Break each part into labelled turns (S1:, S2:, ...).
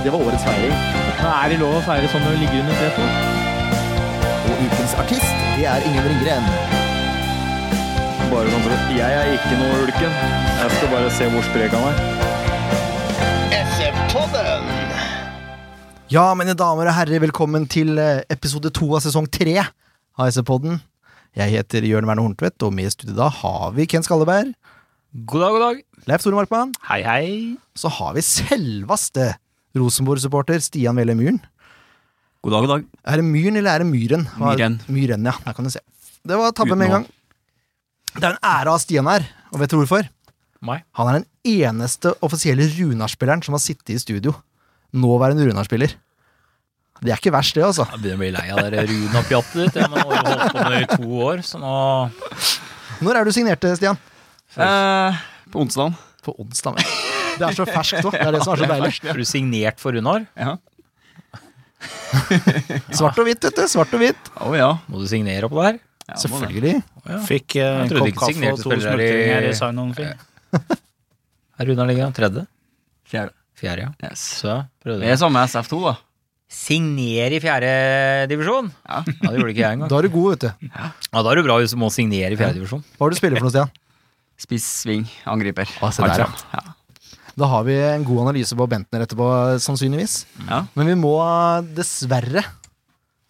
S1: Det var årets feiring.
S2: Er det lov å feire sånn når du ligger under tre for?
S3: Og ukens artist, det er Ingen Ringgren.
S1: Bare sånn for at Jeg er ikke noe ulken. Jeg skal bare se hvor sprek han er.
S3: Ja, mine damer og herrer, velkommen til eh, episode to av sesong tre av SV-podden. Jeg heter Jørn Werner Horntvedt, og med i studio da har vi Ken Skalleberg,
S2: God dag, god dag.
S3: Leif Tore Markmann,
S2: Hei, hei.
S3: så har vi selveste Rosenborg-supporter Stian Velle Myhren.
S4: God dag, god dag.
S3: Er det Myhren eller er det Myhren? Hva-
S4: Myhren.
S3: Myhren, ja. Her kan du se. Det var tabbe med
S4: Uten
S3: en gang. Det er en ære å ha Stian her, og vet du hvorfor?
S2: Meg.
S3: Han er den eneste offisielle Runar-spilleren som har sittet i studio. Nåværende Runar-spiller. Det er ikke verst, det, altså.
S2: Jeg begynner å bli lei av det Runa-pjattet ditt. Jeg har holdt på med det sånn i to år, så nå
S3: Når er du signert, Stian?
S4: Eh, på onsdag.
S3: På onsdag. men. Det er så ferskt òg. Det er det som er så deilig.
S2: Er du signert for Runar?
S4: Ja.
S3: Svart og hvitt, vet du. Svart og hvitt.
S4: Å ja.
S2: Må du signere oppå der?
S4: ja.
S3: Selvfølgelig.
S5: Fikk eh,
S2: Jeg
S5: en
S2: trodde
S5: kopp
S2: ikke
S5: kaffe
S2: signerte
S5: og to
S2: spillere i-
S5: smultringer i Sign-On-film.
S2: Er Runar ligger tredje?
S4: Fjerde.
S2: Fjerde, ja.
S4: Yes.
S2: Så prøvde
S4: Det er
S2: jeg.
S4: samme SF2, da.
S2: Signer i fjerde divisjon?
S4: Ja.
S2: det gjorde ikke jeg engang.
S3: Da er du god, vet du.
S2: Ja, da er du bra hvis du må signere i fjerde divisjon.
S3: Hva har du spiller for noe, Stian?
S4: Spiss, sving, angriper.
S3: Å, se der, ja.
S4: Alt sammen.
S3: Da har vi en god analyse på Bentner etterpå, sannsynligvis.
S4: Ja.
S3: Men vi må dessverre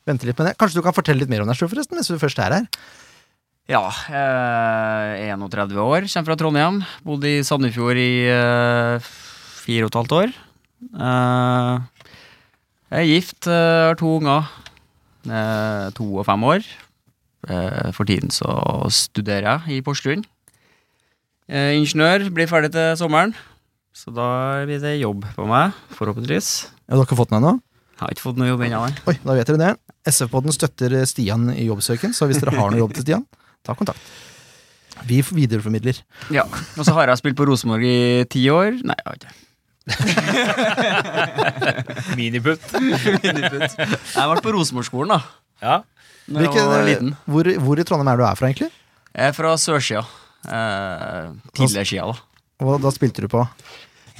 S3: vente litt med det. Kanskje du kan fortelle litt mer om deg sjøl, forresten, hvis du først er her.
S4: Ja, eh, 31 år, kommer fra Trondheim. Bodde i Sandefjord i eh, fire og et halvt år. Eh, jeg er gift, eh, har to unger. Eh, to og fem år. Eh, for tiden så studerer jeg i Porsgrunn. Eh, ingeniør, blir ferdig til sommeren. Så da blir det jobb på meg, forhåpentligvis.
S3: Ja, du har ikke fått den ennå?
S4: Jeg har ikke fått noe jobb ennå, nei.
S3: Oi, da vet dere det. SV-podden støtter Stian i jobbsøken, så hvis dere har noe jobb til Stian, ta kontakt. Vi videreformidler.
S4: Ja. Og så har jeg spilt på Rosenborg i ti år. Nei, jeg har ikke det.
S2: Miniputt.
S4: Miniputt. Jeg ble på Rosenborg-skolen, da.
S2: Ja.
S4: Når jeg var liten.
S3: eh, hvor, hvor i Trondheim er du er fra, egentlig?
S4: Jeg er fra sørsida. Eh, tidligere sida, da.
S3: Og da spilte du på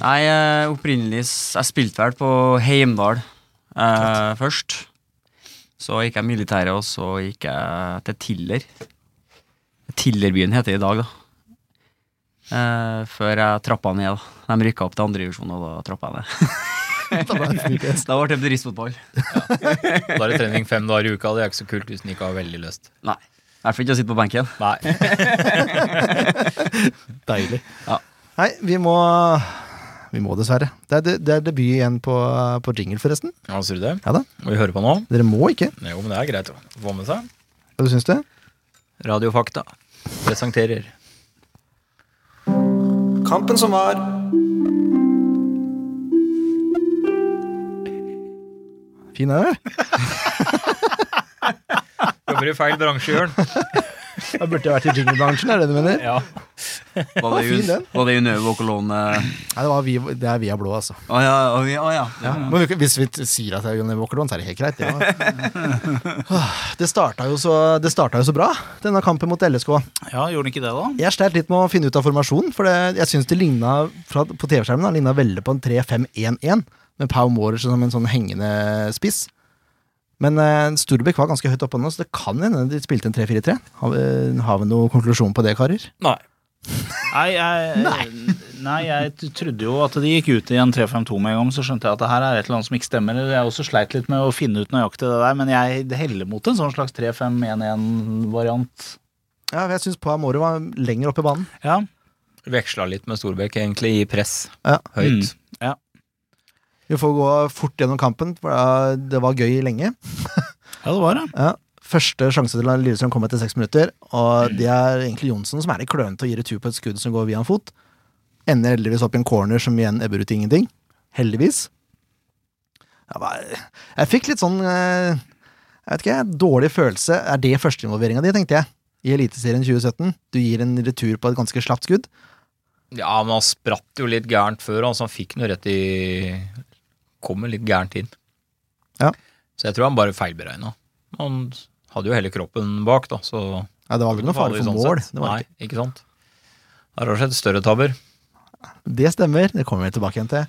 S4: Nei, eh, opprinnelig s- Jeg spilte vel på Heimdal eh, først. Så gikk jeg militæret, og så gikk jeg til Tiller. Tillerbyen heter det i dag, da. Eh, før jeg trappa ned. da De rykka opp til andre divisjon, og da trappa jeg ned. da ble det bedriftsfotball.
S2: Da er det trening fem dager i uka. Det er ikke så kult hvis den ikke har veldig lyst.
S4: Nei. I hvert fall ikke å sitte på benken.
S2: Nei.
S3: Deilig.
S4: Ja.
S3: Nei, vi må Vi må dessverre. Det er, de, det er debut igjen på, på jingle, forresten.
S2: Ja, Sier du det?
S3: Ja da.
S2: Må vi høre på nå?
S3: Dere må ikke.
S2: Jo, men det er greit å få med seg.
S3: Hva syns du?
S2: Radiofakta presenterer.
S3: Kampen som var. Fin er du?
S2: Jobber i feil bransje, Jørn.
S3: Da burde jeg vært i jinglebransjen, er det du mener?
S2: Ja.
S4: Var det,
S3: fin den.
S4: un- var det Unøve og Kolone?
S3: Nei, det, var vi, det er Via Blå, altså.
S4: Å ja, å ja, å ja.
S3: Ja. Men vi- hvis vi t- sier at det er Jonny Walkerlån, så er det helt greit. Det, var- det, starta jo så, det starta jo så bra, denne kampen mot LSK.
S5: Ja, gjorde den ikke det, da?
S3: Jeg sleit litt med å finne ut av formasjonen, for det, jeg syns det ligna fra, på TV-skjermen da, ligna veldig på en 3-5-1-1, med Pau Mårer som en sånn hengende spiss. Men eh, Storbekk var ganske høyt oppe nå, så det kan hende de spilte en 3-4-3. Har, vi- har vi noen konklusjon på det, karer?
S2: Nei.
S5: Nei, jeg, eh, nei. jeg t- trodde jo at de gikk ut i en 3-5-2 med en gang, men så skjønte jeg at det her er et eller annet som ikke stemmer. eller Jeg også sleit litt med å finne ut nøyaktig det der, men jeg heller mot en sånn slags 3-5-1-1-variant.
S3: Ja, jeg syns Pau Mårer var lenger oppe i banen.
S5: Ja.
S2: Veksla litt med Storbekk, egentlig, i press.
S3: Ja.
S2: Høyt.
S3: Vi får gå fort gjennom kampen, for eh, det var gøy lenge.
S5: ja, det var det.
S3: Ja, Første sjanse til Lillestrøm kom etter seks minutter, og det er egentlig Johnsen som er i kløen til å gi retur på et skudd som går via en fot. Ender heldigvis opp i en corner som igjen ebber ut i ingenting. Heldigvis. Jeg, bare, jeg fikk litt sånn eh, jeg vet ikke, dårlig følelse. Er det førsteinvolveringa di, tenkte jeg, i Eliteserien 2017? Du gir en retur på et ganske slapt skudd.
S2: Ja, men han spratt jo litt gærent før, altså han fikk noe rett i Kommer litt gærent inn.
S3: Ja.
S2: Så jeg tror han bare feilberegna. Han hadde jo hele kroppen bak, da, så
S3: Nei, det var aldri noe fare for
S2: Sånn
S3: mål.
S2: sett.
S3: Det, var,
S2: Nei, ikke sant. Det har skjedd større tabber.
S3: ikke- det stemmer. Det kommer vi tilbake igjen til.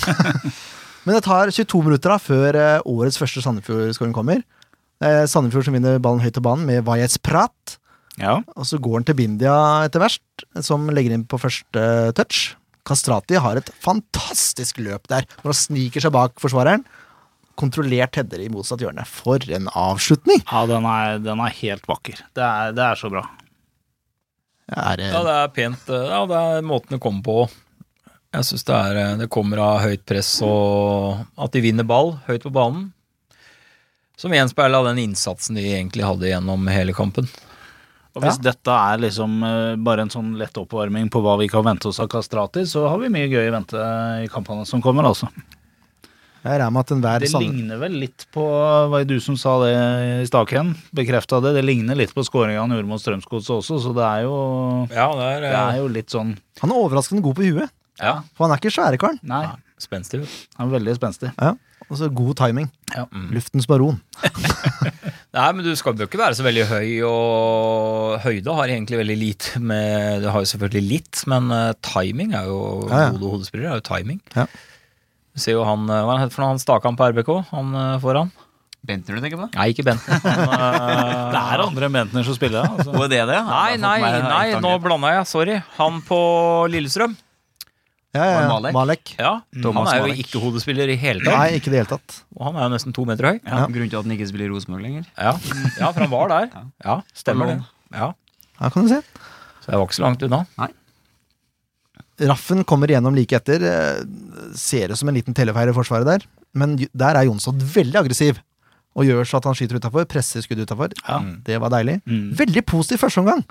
S3: Men det tar 22 minutter da, før eh, årets første Sandefjord-skåring kommer. Eh, Sandefjord som vinner ballen høyt til banen med Vajez Prat.
S5: Ja.
S3: Og så går han til Bindia etter verst, som legger inn på første eh, touch. Kastrati har et fantastisk løp der, når han sniker seg bak forsvareren. Kontrollert header i motsatt hjørne. For en avslutning!
S5: Ja, den er, den er helt vakker. Det er, det er så bra.
S3: Er det,
S2: Ja, det er pent. eh, Ja, det er måten det kommer på. Jeg syns det, er, eh, det kommer av høyt press og at de vinner ball høyt på banen. Som gjenspeila den innsatsen de egentlig hadde gjennom hele kampen.
S5: Og hvis dette er liksom eh, bare en sånn lett oppvarming på hva vi kan vente oss av Kastrati, så har vi mye gøy i vente i kampene som kommer, altså.
S3: jeg regner med at enhver
S5: Det
S3: sand...
S5: ligner vel litt på Var det du som sa det i Stakhen? Bekrefta det. Det ligner litt på skåringa han gjorde mot Strømsgodset også, så det er jo
S2: Ja, det er, eh,
S5: Det er jo litt sånn
S3: Han er overraskende god på huet,
S2: ja.
S3: for han er ikke svære karen.
S5: Nei,
S2: spenstig.
S5: han er veldig spenstig.
S3: Ja. Og så god timing.
S5: Ja.
S3: Luftens baron.
S2: Nei, men du skal jo ikke være så veldig høy, og høyde har egentlig veldig lite med Det har jo selvfølgelig litt, men eh, timing er jo
S3: Ja, ja.
S2: Hode og hodespiller er jo timing.
S3: Ja.
S2: Du ser jo han eh, Hva er det han heter for noe? Han Stakan på RBK, han eh, foran.
S4: Bentner du tenker på?
S2: Nei, ikke Bent. Han, eh,
S5: Det er andre enn Bentner som spiller, altså.
S4: Hvor er det det?
S2: Nei, nei, nei, nå blanda jeg. Sorry. Han på Lillestrøm.
S3: Ja, ja,
S4: Var
S3: ja.
S4: det Malek?
S3: Malek.
S2: Ja, Han
S4: Thomas
S2: er jo
S4: Malek.
S2: ikke hodespiller i hele tatt.
S3: Nei, ikke i det hele tatt.
S2: Og han er jo nesten to meter høy.
S4: Ja, Grunnen til at den ikke spiller i Rosenborg lenger?
S2: Ja, ja for han var der. Ja, stemmer det. Ja,
S3: Ja, kan du se.
S2: Så jeg var ikke så langt unna.
S3: Raffen kommer igjennom like etter. eh, Ser ut som en liten tellefeil i forsvaret der. Men ju- der er Jonsson veldig aggressiv. Og gjør så at han skyter utafor. Presser skuddet utafor. Det var deilig.
S4: Mm.
S3: Veldig positiv første omgang.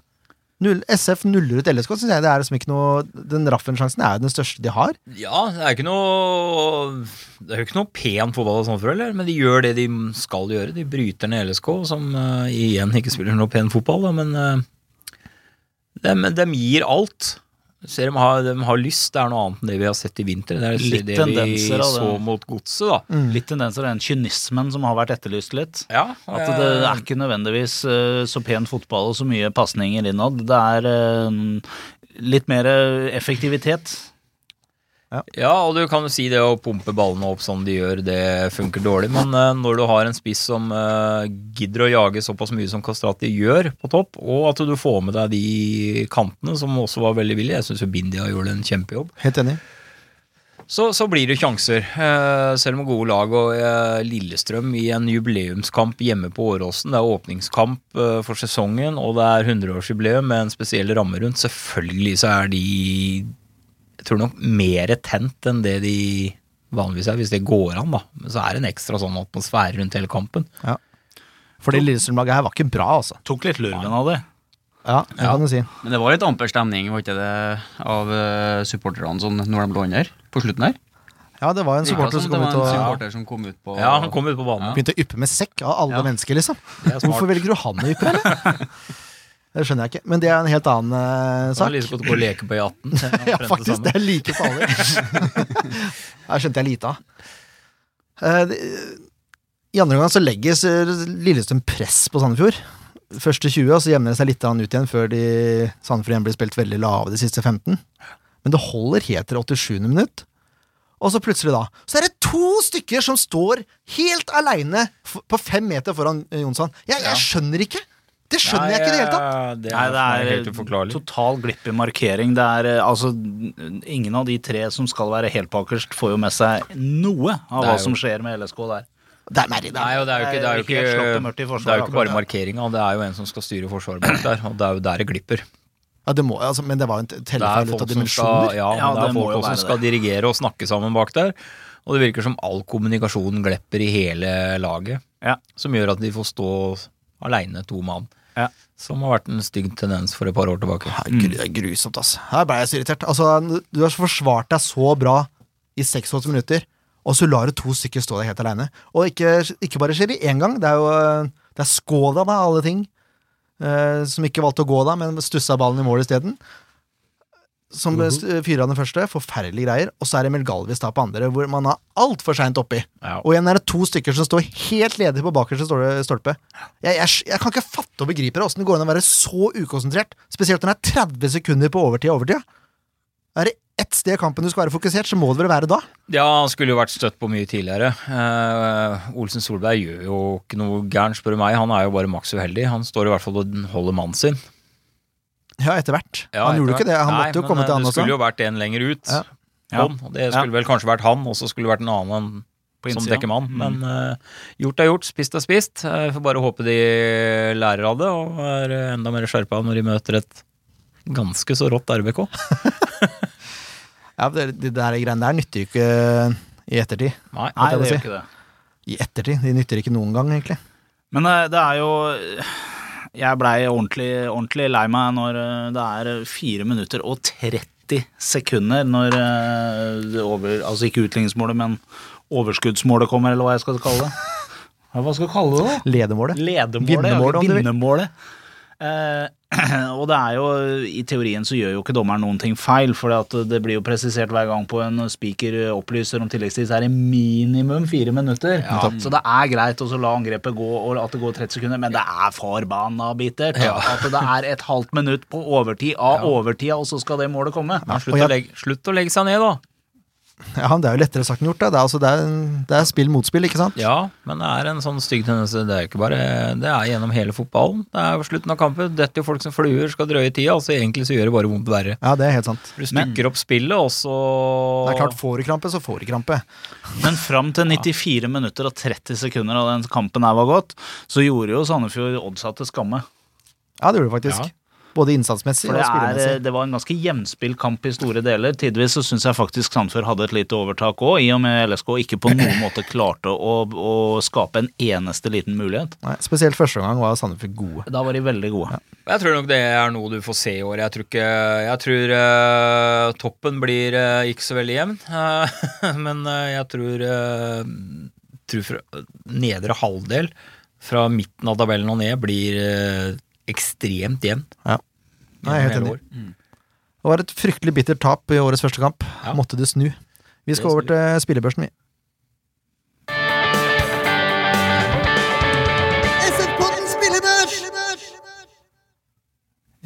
S3: Null, SF nuller ut LSK, syns jeg. Det er liksom ikke noe Den Raffen-sjansen er jo den største de har.
S2: Ja, det er ikke noe Det er jo ikke noe pen fotball og sånn for heller, men de gjør det de skal gjøre. De bryter ned LSK, som eh, igjen ikke spiller noe pen fotball, da, men de, gir alt. Du Ser de, har, de har lyst. Det er noe annet enn det vi har sett i vinter. Det er
S5: Litt
S2: det vi
S5: tendenser av det.
S2: så mot godset, da.
S5: Litt tendenser av den kynismen som har vært etterlyst litt.
S2: Ja,
S5: At det, det
S2: Eh.
S5: er ikke nødvendigvis eh, så pen fotball og så mye pasninger innad. Det er eh, litt mer eh, effektivitet.
S2: Ja, og du kan jo si det å pumpe ballene opp som de gjør, det funker dårlig. Men eh, når du har en spiss som eh, gidder å jage såpass mye som Kastrati gjør på topp, og at du får med deg de kantene, som også var veldig villige Jeg syns Bindia gjorde en kjempejobb.
S3: Helt enig.
S2: Så, så blir det sjanser. eh, selv om gode lag og eh, Lillestrøm i en jubileumskamp hjemme på Åråsen. Det er åpningskamp eh, for sesongen, og det er 100-årsjubileum med en spesiell ramme rundt. Selvfølgelig så er de jeg tror nok mer tent enn det de vanligvis er, hvis det går an, da. Men så er det en ekstra sånn atmosfære rundt hele kampen.
S3: For det Lillestrøm-laget her var ikke bra, altså.
S5: Tok litt lurven av det.
S3: Ja, det
S2: Ja.
S3: kan du si.
S4: Men det var litt amper stemning, var ikke det, av eh, supporterne sånn når de lå under på slutten her?
S3: Ja, det var en
S4: Det virket
S3: supporter som
S4: det
S3: kom
S4: var
S3: ut
S4: en
S3: og
S4: supporter som kom ut på
S2: Ja, han kom ut på banen.
S3: begynte å yppe med sekk av alle
S4: Ja.
S3: mennesker, liksom.
S2: smart.
S3: Hvorfor velger du han å yppe, eller? E? Det skjønner jeg ikke. Men det er en helt annen eh,
S2: Så
S3: sak.
S2: er det liksom godt å gå og leke på i
S3: Ja,
S2: 18. omtrent det
S3: faktisk.
S2: samme.
S3: Det er like farlig. Der skjønte jeg lite av. Eh, det- I andre omgang så legges eh, Lillestrøm press på Sandefjord. Første 20, og så jevner det seg litt grann ut igjen før de, Sandefjord igjen blir spilt veldig lave de siste 15. Men det holder helt til 87. minutt. Og så plutselig, da, så er det to stykker som står helt aleine f- på fem meter foran eh, Jonsson. Jeg, jeg skjønner ikke! Det skjønner jeg ikke i det hele tatt.
S2: Det
S5: Nei,
S2: er,
S5: det er
S2: helt uforklarlig.
S5: total glipp i markering. Det er eh, altså Ingen av de tre som skal være helt bakerst, får jo med seg noe av
S2: Det er
S5: hva
S2: jo-
S5: som skjer med LSK der.
S3: Det er merrig, det.
S2: eh, Nei, og det er jo ikke, det er jo
S5: Det er helt slått og
S2: ikke,
S5: mørkt i forsvaret
S2: det er jo ikke bare
S5: akkurat.
S2: markeringa, det er jo en som skal styre forsvaret bak der, og det er jo der det glipper.
S3: Ja, det må, altså, men det var jo en
S2: Det er
S3: tellefeil ut av
S2: folk som skal,
S3: dimensjoner.
S2: ja, men
S5: Ja,
S2: det
S5: det
S2: er
S5: må
S2: folk
S5: jo
S2: også
S5: være
S2: som skal dirigere og snakke sammen bak der, og det virker som all kommunikasjon glepper i hele laget,
S5: Ja.
S2: som gjør at de får stå aleine to mann,
S5: Ja.
S2: som har vært en stygg tendens for et par år tilbake.
S3: Herregud, det er grusomt, ass. Her ble jeg så irritert. Altså, du har forsvart deg så bra i 86 minutter, og Og så lar du to stykker stå der helt aleine. Og ikke, ikke bare skjer det én gang, det er jo eh, det er Skoda, da, alle ting. Eh, som ikke valgte å gå da, men stussa ballen i mål isteden. Som uh fyrer av den første. Forferdelige greier. Og så er det Emil Galvis da på andre, hvor man er altfor seint oppi.
S2: Ja.
S3: Og igjen er det to stykker som står helt ledige på bakerste stol- stolpe. Jeg, jeg, sk- jeg kan ikke fatte og begripe det, åssen det går an å være så ukonsentrert. Spesielt når det er 30 sekunder på overtid og overtid. Er det ett sted i kampen du skal være fokusert, så må det vel være da.
S2: Ja, han skulle jo vært støtt på mye tidligere. Eh, Olsen Solberg gjør jo ikke noe gærent, spør du meg. Han er jo bare maks uheldig. Han står i hvert fall og holder mannen sin.
S3: Ja, etter hvert.
S2: Ja,
S3: han gjorde jo
S2: etter
S3: ikke det. Han
S2: hvert.
S3: måtte jo
S2: Nei,
S3: komme
S2: men,
S3: til
S2: eh,
S3: han
S2: Det
S3: også.
S2: skulle jo vært en lenger ut.
S3: Ja.
S5: Ja.
S2: Hånd, og det skulle vel kanskje vært han, og så skulle det vært en annen
S5: På
S2: som
S5: innsida.
S2: dekker mann.
S5: Mm.
S2: Men eh, gjort er gjort, spist er spist. Eh, får bare håpe de lærer av det, og er eh, enda mer skjerpa når de møter et ganske så rått RBK.
S3: Ja, det, det der greiene der nytter jo ikke eh, i ettertid.
S2: Nei,
S5: Nei,
S3: jeg
S5: det
S3: si.
S5: gjør ikke det.
S3: I ettertid. De nytter ikke noen gang, egentlig.
S5: Men eh, det er jo Jeg blei ordentlig, ordentlig lei meg når eh, det er 4 minutter og 30 sekunder når eh, det over, Altså ikke utligningsmålet, men overskuddsmålet kommer, eller hva jeg skal kalle det. Ja, Hva skal jeg kalle det, da?
S3: Ledermålet.
S5: Ledemålet.
S3: Vinnermålet,
S5: ja,
S3: om du vil.
S5: vinnermålet. Eh, og det er jo, i teorien så gjør jo ikke dommeren noen ting feil, for det blir jo presisert hver gang på en speaker opplyser om tilleggstid, så er det minimum fire minutter. Så det er greit å så la angrepet gå, og at det går 30 sekunder, men det er forbanna bittert. At det er et halvt minutt på overtid av overtida, og så skal det målet komme.
S2: Men
S3: og
S2: slutt, å
S3: jeg-
S2: legge, slutt å legge seg ned, da.
S3: Ja, det er jo lettere sagt enn gjort. Da. Det, er, altså, det, er, det er spill mot spill, ikke sant?
S2: Ja, men det er en sånn stygg tendens. Det er jo ikke bare Det er gjennom hele fotballen. Det er jo slutten av kampen. Detter jo folk som fluer, skal drøye tida. Altså egentlig så gjør det bare vondt verre.
S3: Ja, det er helt sant.
S2: Du stykker opp spillet, og så
S3: Det er klart, får du krampe, så får du krampe.
S5: Men fram til 94 minutter og 30 sekunder av den kampen her var gått, så gjorde jo Sandefjord oddsa til skamme.
S3: Ja, det gjorde du faktisk. Både innsatsmessig
S5: For
S3: og
S5: det, er, eh,
S3: spillemessig.
S5: det var en ganske jevnspilt kamp i store deler. Tidvis så syns jeg faktisk Sandfjord hadde et lite overtak òg, i og med LSK ikke på noen måte klarte å, å skape en eneste liten mulighet.
S3: Nei, spesielt første omgang var Sandefjord gode.
S5: Da var de veldig gode.
S2: Jeg tror nok det er noe du får se i år. Jeg tror, ikke, jeg tror eh, toppen blir eh, ikke så veldig jevn. Eh, men eh, jeg tror, eh, tror fra, nedre halvdel fra midten av tabellen og ned blir eh, ekstremt jevn.
S3: Nei, jeg er helt
S2: Hele
S3: enig. Det var et fryktelig bittert tap i årets første kamp.
S2: Ja.
S3: Måtte det snu. Vi skal
S2: Det
S3: over til spillebørsen, vi.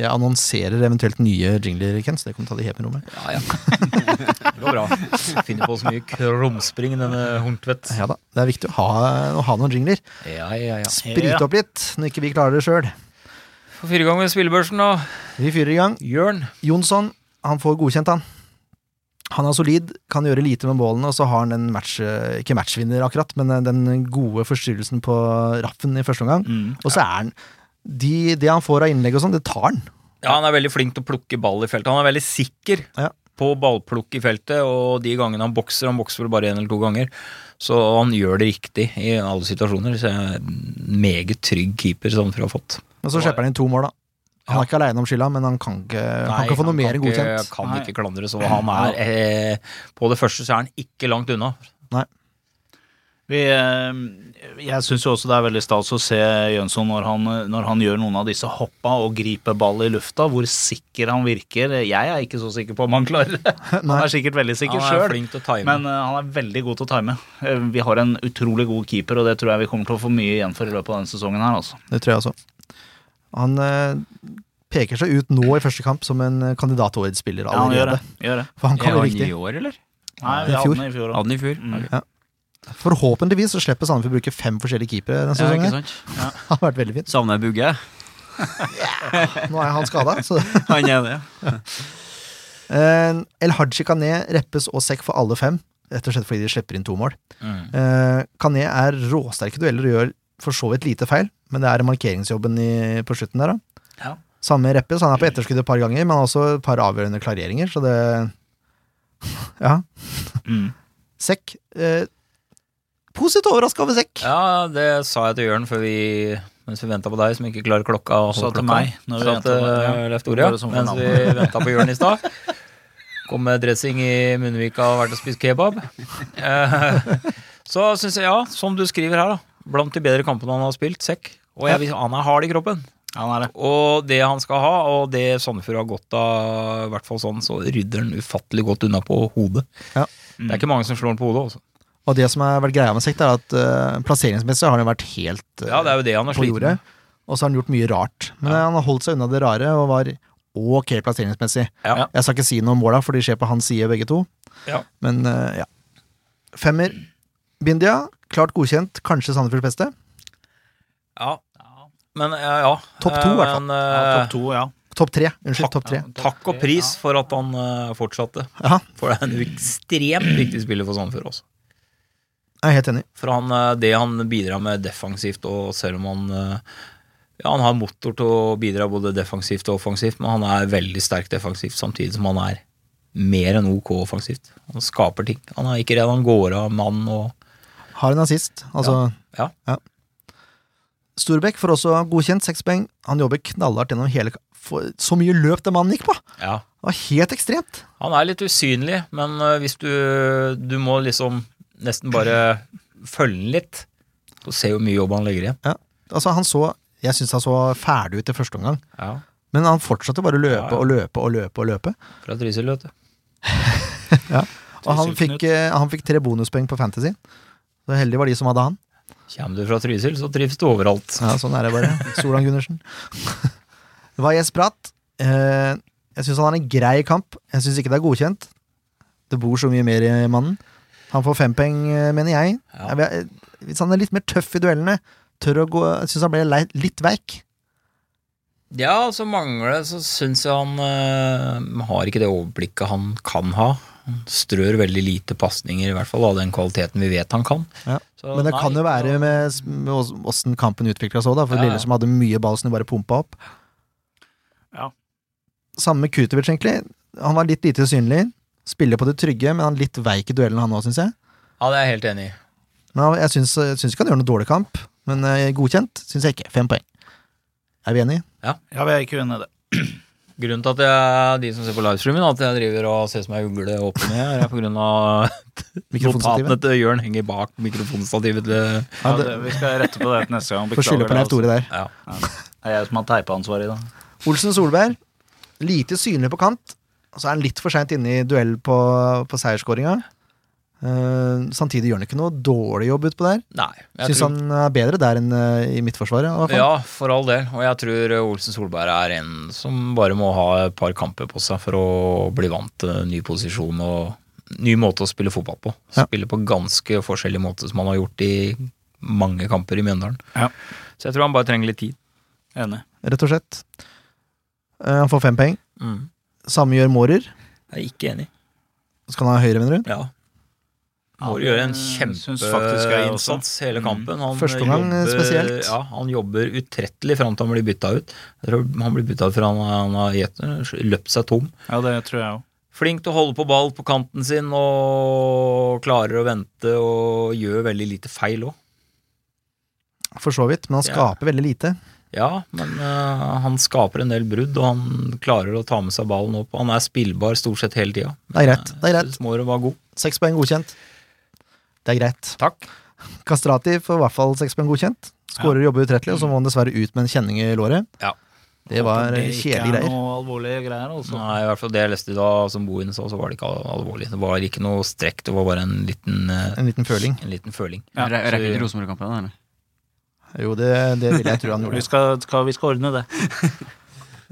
S3: Jeg annonserer eventuelt nye jingler, Ken, så det kan du ta det helt med ro med.
S2: Ja, ja. Det går bra. Finner på så mye krumspring, denne Horntvedt.
S3: Ja da, det er viktig å ha, å ha noen jingler.
S2: Ja, ja, ja.
S3: Sprite opp litt når ikke vi klarer det sjøl.
S2: For fire ganger spillebørsen, da.
S3: Vi fyrer i gang.
S2: Jørn.
S3: Jonsson, han får godkjent, han. Han er solid, kan gjøre lite med målene, og så har han den match, eh, ikke matchvinner akkurat, men eh, den gode forstyrrelsen på raffen i første omgang.
S5: Mm.
S3: Og så er han de, Det han får av innlegg og sånn, det tar han.
S2: Ja, han er veldig flink til å plukke ball i feltet. Han er veldig sikker
S3: Ja.
S2: på ballplukk i feltet, og de gangene han bokser, han bokser vel bare én eller to ganger, så han gjør det riktig i alle situasjoner. Så jeg er en meget trygg keeper sånn Sandefjord har fått.
S3: Men så slipper han inn to mål, da. Han er ikke aleine om skylda, men han kan ikke, Eh, han kan ikke få noe mer enn godkjent.
S2: Kan ikke klandre, så han er eh, På det første så er han ikke langt unna.
S5: Vi, eh, jeg syns jo også det er veldig stas å se Jønsson når han, når han gjør noen av disse hoppa og griper ball i lufta, hvor sikker han virker. Jeg er ikke så sikker på om han klarer det. Han er sikkert veldig
S2: Han
S5: sikker
S2: er
S5: sjøl.
S2: flink til å time.
S5: Men eh, han er veldig god til å time. Eh, vi har en utrolig god keeper, og det tror jeg vi kommer til å få mye igjen for i løpet av denne sesongen. her altså.
S3: Det tror jeg også. Han eh, peker seg ut nå i første kamp som en eh, kandidat til årets spiller
S5: Ja, han gjør
S3: allerede.
S5: det. Gjør det.
S3: For han
S4: Er
S3: kan
S4: han
S3: det
S4: i
S3: riktig.
S4: år, eller?
S5: Nei,
S3: I
S5: vi hadde
S3: fjor.
S5: den i fjor
S4: Hadde
S5: òg.
S4: han i fjor?
S5: Mm.
S4: Ok.
S3: Forhåpentligvis så slipper Sandefjord bruke fem forskjellige keepere denne
S4: Ja, ikke
S3: sesongen.
S4: sant?
S3: Det har vært veldig fint.
S4: Savner jeg Bugge?
S3: Nå er han skada, så
S4: Han er det.
S3: Eh, El Haji Kané reppes og sekk for alle fem, rett og slett fordi de slipper inn to mål.
S2: Mm.
S3: Eh, Kané er råsterke dueller og gjør for så vidt lite feil, men det er markeringsjobben i, på slutten der, da.
S5: Ja.
S3: Samme reppes, han er på etterskudd et par ganger, men har også et par avgjørende klareringer, så det Ja.
S5: Mm.
S3: Sekk. Eh, positivt overraska over sekk.
S2: Ja, det sa jeg til Jørn før vi mens vi venta på deg, som ikke klarer klokka. å
S5: Sa
S2: holde
S5: til
S2: klokka.
S5: meg når vi
S3: eh,
S2: Sa
S5: ventet
S2: til
S5: på deg, ja.
S2: Leif eh, Tore,
S5: Bare som
S2: mens
S5: for
S2: vi venta på Jørn i stad. Kom med dressing i munnvika og vært og spist kebab. Eh, Så syns jeg, ja, som du skriver her, da. Blant de bedre kampene han har spilt, sekk. Og jeg, vil- han er hard i kroppen.
S5: Han er det.
S2: Og det han skal ha, og det Sandefjord har godt av, i hvert fall sånn, så rydder han ufattelig godt unna på hodet.
S3: Ja.
S2: Det er ikke mange som slår han på hodet, altså.
S3: Og det som har vært greia med Sekt, er at eh, plasseringsmessig har han jo vært helt eh,
S2: Ja, det er jo det han er
S3: på
S2: sliten
S3: jordet.
S2: med.
S3: Og så har han gjort mye rart. Men eh, han har holdt seg unna det rare og var ok plasseringsmessig.
S2: Ja.
S3: Jeg skal ikke si noe om måla, for de skjer på hans side, begge to.
S2: Ja.
S3: Men eh, ja. Femmer. Bindia, klart godkjent. Kanskje Sandefjords beste.
S2: Ja. Men ja, ja.
S3: Topp to, i hvert fall.
S2: Men,
S5: Ja,
S2: eh,
S5: topp to, ja.
S3: Topp tre. Unnskyld, topp tre.
S2: Takk og pris for at han eh, fortsatte.
S3: Ja,
S2: For det er en ekstremt viktig spiller for Sandefjord også.
S3: jeg er helt enig.
S2: For han, eh, det han bidrar med defensivt, og selv om han eh, ja, han har motor til å bidra både defensivt og offensivt, men han er veldig sterk defensivt samtidig som han er mer enn ok offensivt. Han skaper ting. Han er ikke redd, han går av mann og
S3: Har en assist. Altså
S2: Ja.
S3: Storbekk får også godkjent seks poeng. Han jobber knallhardt gjennom hele ka- for, Så mye løp den mannen gikk på!
S2: ja.
S3: Det var helt ekstremt.
S2: Han er litt usynlig, men eh, hvis du Du må liksom nesten bare følge den litt. Du ser jo mye jobb han legger igjen.
S3: Ja. Altså, han så Jeg syns han så ferdig ut i første omgang,
S2: Ja,
S3: men han fortsatte bare å
S2: Ja,
S3: løpe
S2: ja.
S3: og løpe og løpe og løpe.
S2: Fra Trysil, vet du.
S3: Og han
S5: Tusen
S3: fikk,
S5: Knut.
S3: eh, han fikk tre bonuspoeng på Fantasy. Så heldig var de som hadde han.
S2: Kommer du fra Trysil, så trives du overalt.
S3: Ja, sånn er det bare. Solan Gundersen. Det var Jes Bratt. Eh, Jeg syns han har en grei kamp. Jeg syns ikke det er godkjent. Det bor så mye mer i mannen. Han får fem poeng, eh, mener jeg.
S2: Ja.
S3: Jeg vil- eh, Hvis han er litt mer tøff i duellene, tør å gå Jeg syns han ble lei- litt veik.
S2: Ja, så mangler det, så syns jeg han eh, har ikke det overblikket han kan ha. Han strør veldig lite pasninger, i hvert fall av den kvaliteten vi vet han kan.
S3: Ja.
S2: Så
S3: Men det
S2: nei,
S3: kan jo være
S2: så-
S3: med s- med ås- åssen kampen utvikla seg òg, da. For
S2: Ja, ja.
S3: Lillestrøm hadde mye ball som de bare pumpa opp.
S5: Ja.
S3: Samme med Kutovic, egentlig. Han var litt lite synlig. Spiller på det trygge, men han er litt veik i duellen, han òg, syns jeg.
S2: Ja, det er jeg helt enig i.
S3: Men han- jeg syns, jeg syns ikke han gjør noen dårlig kamp, men eh, godkjent syns jeg ikke. Fem poeng. Er vi enige?
S5: Ja, vi er ikke uenige i det.
S2: Grunnen til at jeg, de som ser på livestreamen, at jeg driver og ser som ei ugle opp og ned, er på grunn av notatene
S3: Mikrofonstativet.
S2: til Jørn henger bak mikrofonstativet til
S3: Ja,
S5: Ja, det,
S3: det-
S5: vi skal rette på det til neste gang.
S3: Får skylde på Leif
S5: det.
S3: Tore der.
S2: Ja.
S5: altså. Det er jeg som har teipeansvaret i dag.
S3: Olsen Solberg, lite synlig på kant. og Så er han litt for seint inne i duell på, på seiersskåringa. Eh, samtidig gjør han ikke noe dårlig jobb utpå der.
S2: Nei. jeg
S3: Syns
S2: tror-
S3: han er bedre der enn eh, i Midtforsvaret. i hvert fall.
S2: Ja, for all del. Og jeg tror eh, Olsen Solberg er en som bare må ha et par kamper på seg for å bli vant til ny posisjon og ny måte å spille fotball på.
S3: Ja.
S2: Spille på ganske forskjellig måte som han har gjort i mange kamper i Mjøndalen.
S5: Ja.
S2: Så jeg tror han bare trenger litt tid.
S5: Enig.
S3: Rett og slett. Eh, han får fem poeng.
S5: Mm.
S3: Samme gjør Mårer.
S2: Jeg er ikke enig.
S3: Så kan han ha høyre, mener du?
S2: Ja. Må
S5: Ja,
S2: gjøre en
S5: det syns Mm, faktisk jeg også. Mm.
S2: kjempeinnsats hele kampen. Han
S3: Første gang,
S2: jobber-
S3: spesielt.
S2: Ja, han jobber utrettelig fram til han blir bytta ut. Jeg tror han blir bytta ut for han, han har gjet- løpt seg tom.
S5: Ja, det tror jeg òg.
S2: Flink til å holde på ball på kanten sin og klarer å vente og gjør veldig lite feil òg.
S3: For så vidt, men han
S2: Ja.
S3: skaper veldig lite.
S2: Ja, men eh, han skaper en del brudd, og han klarer å ta med seg ballen opp. Han er spillbar stort sett hele tida.
S3: Det er greit. det er greit
S2: Småre var god.
S3: Seks poeng godkjent. Det er greit.
S2: Takk.
S3: Kastrati får i hvert fall seks poeng godkjent. Skårer og jobber utrettelig, og så må han dessverre ut med en kjenning i låret.
S2: Ja.
S3: Det var
S5: ikke
S3: kjedelige
S5: er
S3: greier.
S5: noe alvorlige greier, altså.
S2: Nei, i hvert fall det jeg leste i dag, som Bohin sa, så var det ikke al- alvorlig. Det var ikke noe strekk, det var bare en liten, eh,
S3: En liten føling.
S2: en liten føling.
S5: Ja,
S4: Re rekker
S2: så-
S4: ikke Rosenborg-kampen, eller?
S3: Jo, det, det vil jeg tro han
S5: Vi
S3: gjorde.
S5: skal, skal, vi skal ordne det.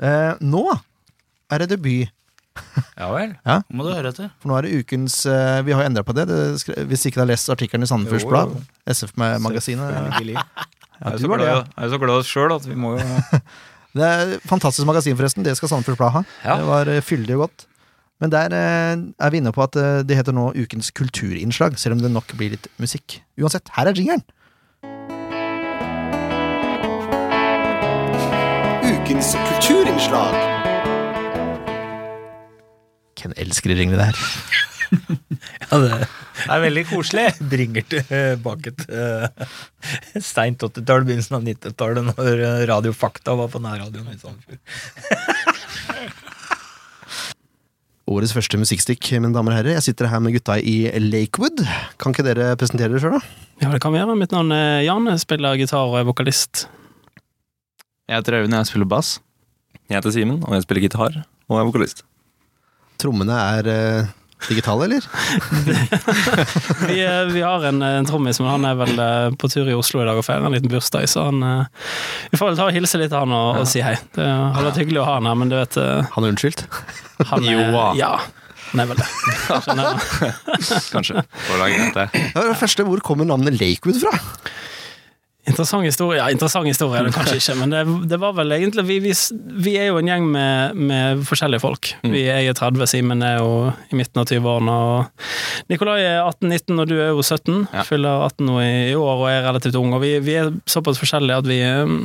S3: Eh, nå er det debut.
S2: Ja vel.
S5: Nå må du høre etter.
S3: For nå er det ukens eh, Vi har endra på det. det skre- hvis ikke du har lest artikkelen i Sandefjords
S2: Jo,
S3: Blad,
S2: jo.
S3: SF-magasinet ja,
S2: jeg, er
S3: du
S2: så
S3: var det, ja.
S2: glad, jeg er så glad sjøl at vi må jo
S3: det er et fantastisk magasin, forresten. Det skal Sandefjords Blad ha.
S2: Ja.
S3: Det var eh, fyldig og godt. Men der eh, er vi inne på at eh, det heter nå Ukens kulturinnslag, selv om det nok blir litt musikk. Uansett, her er jingeren! Ukens kulturinnslag. Ken elsker de ringene der.
S2: ja, det.
S5: Det er veldig koselig.
S2: bringer eh, tilbake til eh, seint 80-tall, begynnelsen av 90-tallet, når eh, Radio Fakta var på nærradioen i Sandefjord.
S3: Årets første musikkstikk, mine damer og herrer. Jeg sitter her med gutta i Lakewood. Kan ikke dere presentere dere sjøl, da?
S6: Ja, det kan vi gjøre. Mitt navn er Jan, jeg spiller gitar og er vokalist.
S1: Jeg heter Øyvind, jeg spiller bass. Jeg heter Simen, og jeg spiller gitar. Og jeg er vokalist.
S3: Trommene er eh, digitale, eller?
S6: Vi, eh, vi har en, eh, en trommis, men han er vel eh, på tur i Oslo i dag og feirer en liten bursdag, så han eh, Vi får vel ta og hilse litt til han og, og si hei. Det hadde vært hyggelig å ha han her, men du vet eh,
S3: Han er unnskyldt.
S6: Han er
S1: Joa.
S6: Ja. Han er vel det. Skjønner du?
S1: Kanskje.
S3: Det var det første, Hvor kommer navnet Lakewood fra?
S6: Interessant historie. Ja, interessant historie er det kanskje ikke, men det, det var vel egentlig Vi, vi, s- vi er jo en gjeng med, med forskjellige folk. Vi er jo 30, Simen er jo i midten av 20-årene, og Nikolai er 18-19, og du er jo 17. Fyller 18 nå i, i år og er relativt ung, og vi, vi er såpass forskjellige at vi eh,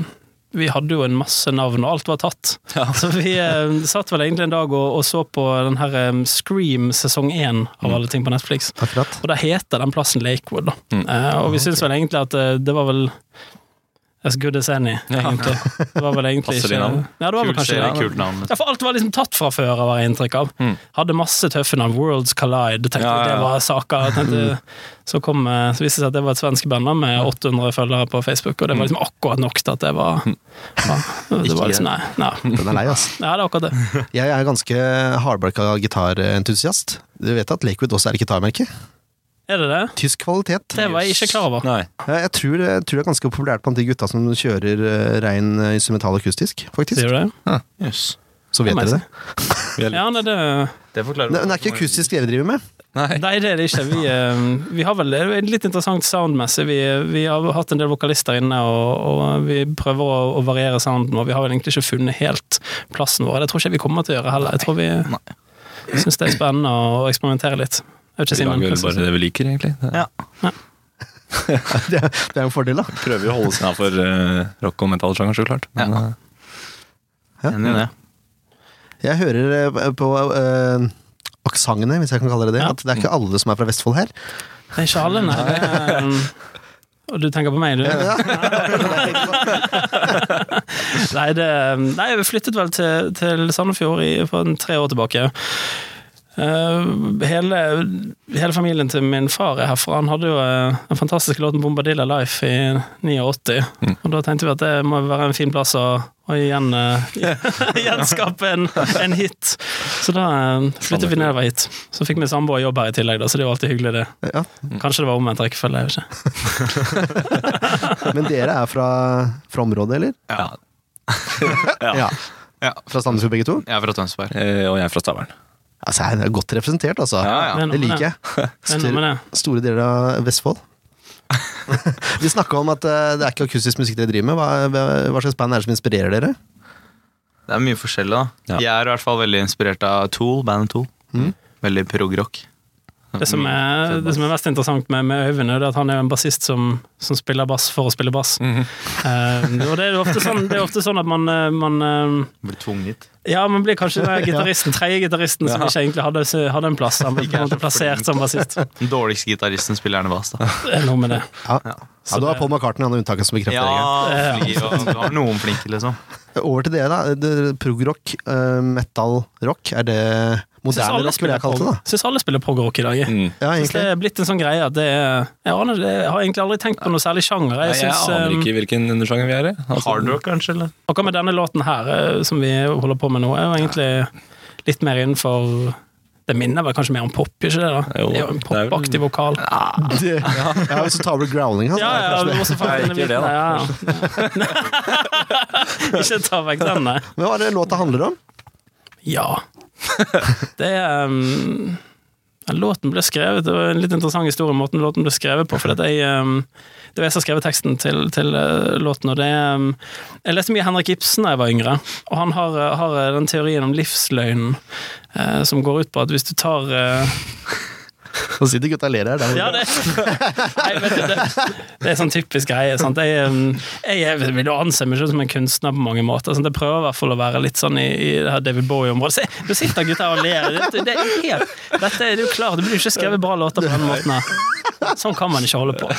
S6: vi hadde jo en masse navn, og alt var tatt. Så vi eh, satt vel egentlig en dag og, og så på den her eh, Scream sesong én av alle ting på Netflix.
S3: Akkurat.
S6: Og da heter den plassen Lakewood, da.
S1: Mm.
S6: Eh,
S1: Ah,
S6: og vi syns vel egentlig at eh, det var vel As good as any, egentlig. eh, Det var vel egentlig
S1: Passer
S6: ikke
S1: i navn.
S6: Ja, det var vel
S1: Kult
S6: kanskje
S1: serie,
S6: det.
S1: kult navn.
S6: Ja, for alt var liksom tatt fra før, var jeg inntrykk av. Hadde masse tøffe navn. Worlds Collide, tenkte jeg.
S1: Ja, ja, ja. Mm.
S6: Det var saker. jeg Tenkte, så, kom, eh, så viste det seg at det var et svensk band da, med 800 følgere på Facebook, og det
S1: Mm.
S6: var liksom akkurat nok til at det var ja, Det var liksom, nei, nei.
S3: Den er lei, ass.
S6: Ja, det er akkurat det.
S3: Jeg er ganske hardbarka gitarentusiast. Du vet at Lakewood også er et gitarmerke?
S6: Er det det?
S3: Tysk kvalitet.
S6: Det var jeg ikke klar over.
S1: Nei.
S3: Ja, Jeg tror, jeg tror det er ganske populært blant de gutta som kjører eh, rein eh, instrumental akustisk, faktisk.
S6: Sier du det?
S3: Så vet dere det.
S6: Ja, nei, det
S1: Det
S3: Men
S1: forklarer
S3: det er ikke akustisk dere driver med.
S1: Nei.
S6: Nei, det er det ikke. Vi, eh, vi har vel det er litt interessant soundmessig. Vi, vi har hatt en del vokalister inne, og, og vi prøver å, å variere sounden, og vi har vel egentlig ikke funnet helt plassen vår. Det tror ikke jeg vi kommer til å gjøre heller. Jeg tror vi syns det er spennende å eksperimentere litt. Jeg vet ikke,
S1: Vi
S6: Simen,
S1: lager
S6: hva
S1: vel
S6: synes
S1: bare
S6: du?
S1: det vi liker, egentlig. Det
S3: Det er, det er en fordel, da.
S1: prøver jo å holde oss innafor rock og metallsjanger, så klart. Men eh,
S7: Enig i det.
S3: Jeg hører eh, på uh, aksentene, hvis jeg kan kalle det det,
S6: Ja.
S3: at det er ikke alle som er fra Vestfold her.
S6: Det er ikke alle, nei. Det er, eh, og du tenker på meg, du? Nei, det, nei, vi flyttet vel til, til Sandefjord i, for en tre år tilbake. Eh, hele, hele familien til min far er herfra. Han hadde jo eh, den fantastiske låten 'Bombadilla Life' i 89. Og da tenkte vi at det må være en fin plass å, å igjen, eh, gjenskape en, en hit. Så da eh, flyttet vi nedover hit. Så fikk min samboer jobb her i tillegg, da, så det er jo alltid hyggelig, det.
S3: Ja.
S6: Mm. Kanskje det var omvendt rekkefølge, jeg vet ikke.
S3: Men dere er fra, fra området, eller?
S8: Ja.
S3: Ja. Fra Sandefjord, begge to?
S8: Jeg er fra Tønsberg.
S1: eh, og jeg er fra Stavern.
S3: Altså, jeg er godt representert, altså.
S8: Ja, ja.
S6: er noe
S3: Det
S6: med
S3: liker jeg.
S6: Det er noe med det.
S3: Store deler av Vestfold. Vi snakka om at eh, det er ikke akustisk musikk dere driver med. Hva, hva- hva slags band er det som inspirerer dere?
S8: Det er mye forskjellig, da.
S1: Ja.
S8: Jeg er i hvert fall veldig inspirert av Tool, bandet Tool. Veldig prog-rock.
S6: Det som, er, det som er mest interessant med, med Øyvind, er det at han er jo en bassist som, som spiller bass for å spille bass.
S3: Mhm.
S6: Eh, og det er jo ofte sånn, det er ofte sånn at man, eh, man eh,
S8: Blir tvunget.
S6: Ja, man blir kanskje den gitaristen, tredje gitaristen som ikke egentlig hadde, hadde en plass. Han ble på en måte plassert som bassist. Det
S8: Den dårligste gitaristen spiller gjerne bass, da.
S6: er noe med det.
S3: Ja, ja.
S6: Så
S3: det var
S6: det-
S3: Paul McCartney, han er unntaket som bekrefter regelen.
S6: Ja.
S8: fly, og, du har noen flinke, liksom.
S3: Over til dere, da. Det- Progrock, eh, metal, rock. Er det moderne rock, vil jeg kalle det? da Mm.
S6: Syns alle spiller progrock i dag. Jeg.
S3: Ja,
S6: Synes det
S3: egentlig.
S6: er blitt en sånn greie at det er Jeg, aner, det- jeg har egentlig aldri tenkt på noe særlig sjanger.
S1: Nei,
S6: Jeg
S1: jeg
S2: um,
S6: synes,
S1: aner
S6: eh,
S1: ikke hvilken undersjanger vi er i. Altså,
S8: Hardrock, kanskje? eller?
S6: Akkurat med denne låten her, eh, som vi holder på med nå, er jo egentlig litt mer innenfor Det minner vel kanskje mer om pop, ikke det? da?
S1: Jo,
S6: Det er jo en
S1: det er vel-
S6: popaktig vokal. Ja,
S3: Det- Ja, og så tar du growling altså. hans.
S6: ja,
S3: da, kanskje det.
S6: også fant
S1: Nei,
S6: denne
S1: ikke det,
S6: biten,
S1: da.
S6: ja, ja. Ikke ta vekk den, nei.
S3: Men hva er det låta handler om?
S6: Ja. Det er um, den Låten ble skrevet, det var en litt interessant historie om måten låten ble skrevet på. For at jeg, um, det var jeg som skrev teksten til, til uh, låten, og det um, Jeg leste mye Henrik Ibsen da jeg var yngre, og han har, uh, har uh, den teorien om livsløgnen eh, som går ut på at hvis du tar eh,
S3: Nå sitter gutta og ler her. Der.
S6: ja, det, nei, vet du, det, det er sånn typisk greie. Sant? Jeg, um, jeg, er- vil jo anse meg selv som en kunstner på mange måter. Sant? Jeg prøver i hvert fall å være litt sånn i, i det her David Bowie-området. Se, Nå sitter gutta her og ler. Det, det er helt, dette er det jo klart, det blir jo ikke skrevet bra låter på denne måten her. Sånn kan man ikke holde på.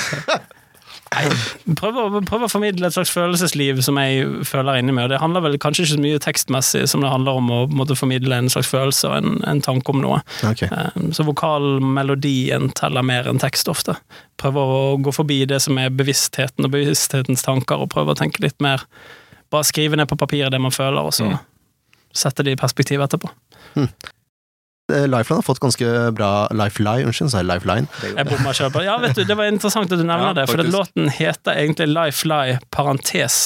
S6: Prøv å, prøv å formidle et slags følelsesliv som jeg føler inni meg. Og det handler vel kanskje ikke så mye tekstmessig som det handler om å på en måte, formidle en slags følelse og en, en tanke om noe.
S3: Ok.
S6: Um, Så vokalmelodien teller mer enn tekst ofte. Prøver å gå forbi det som er bevisstheten og bevissthetens tanker, og prøver å tenke litt mer Bare skrive ned på papiret det man føler, og så
S1: Mm.
S6: sette det i perspektiv etterpå.
S3: Eh, Lifeline har fått ganske bra Lifeline, unnskyld, sa jeg Lifeline.
S6: Jeg bomma selv på det. Ja, vet du, det var interessant at du nevner
S1: Ja,
S6: det, for det,
S1: faktisk.
S6: låten heter egentlig Lifeline parentes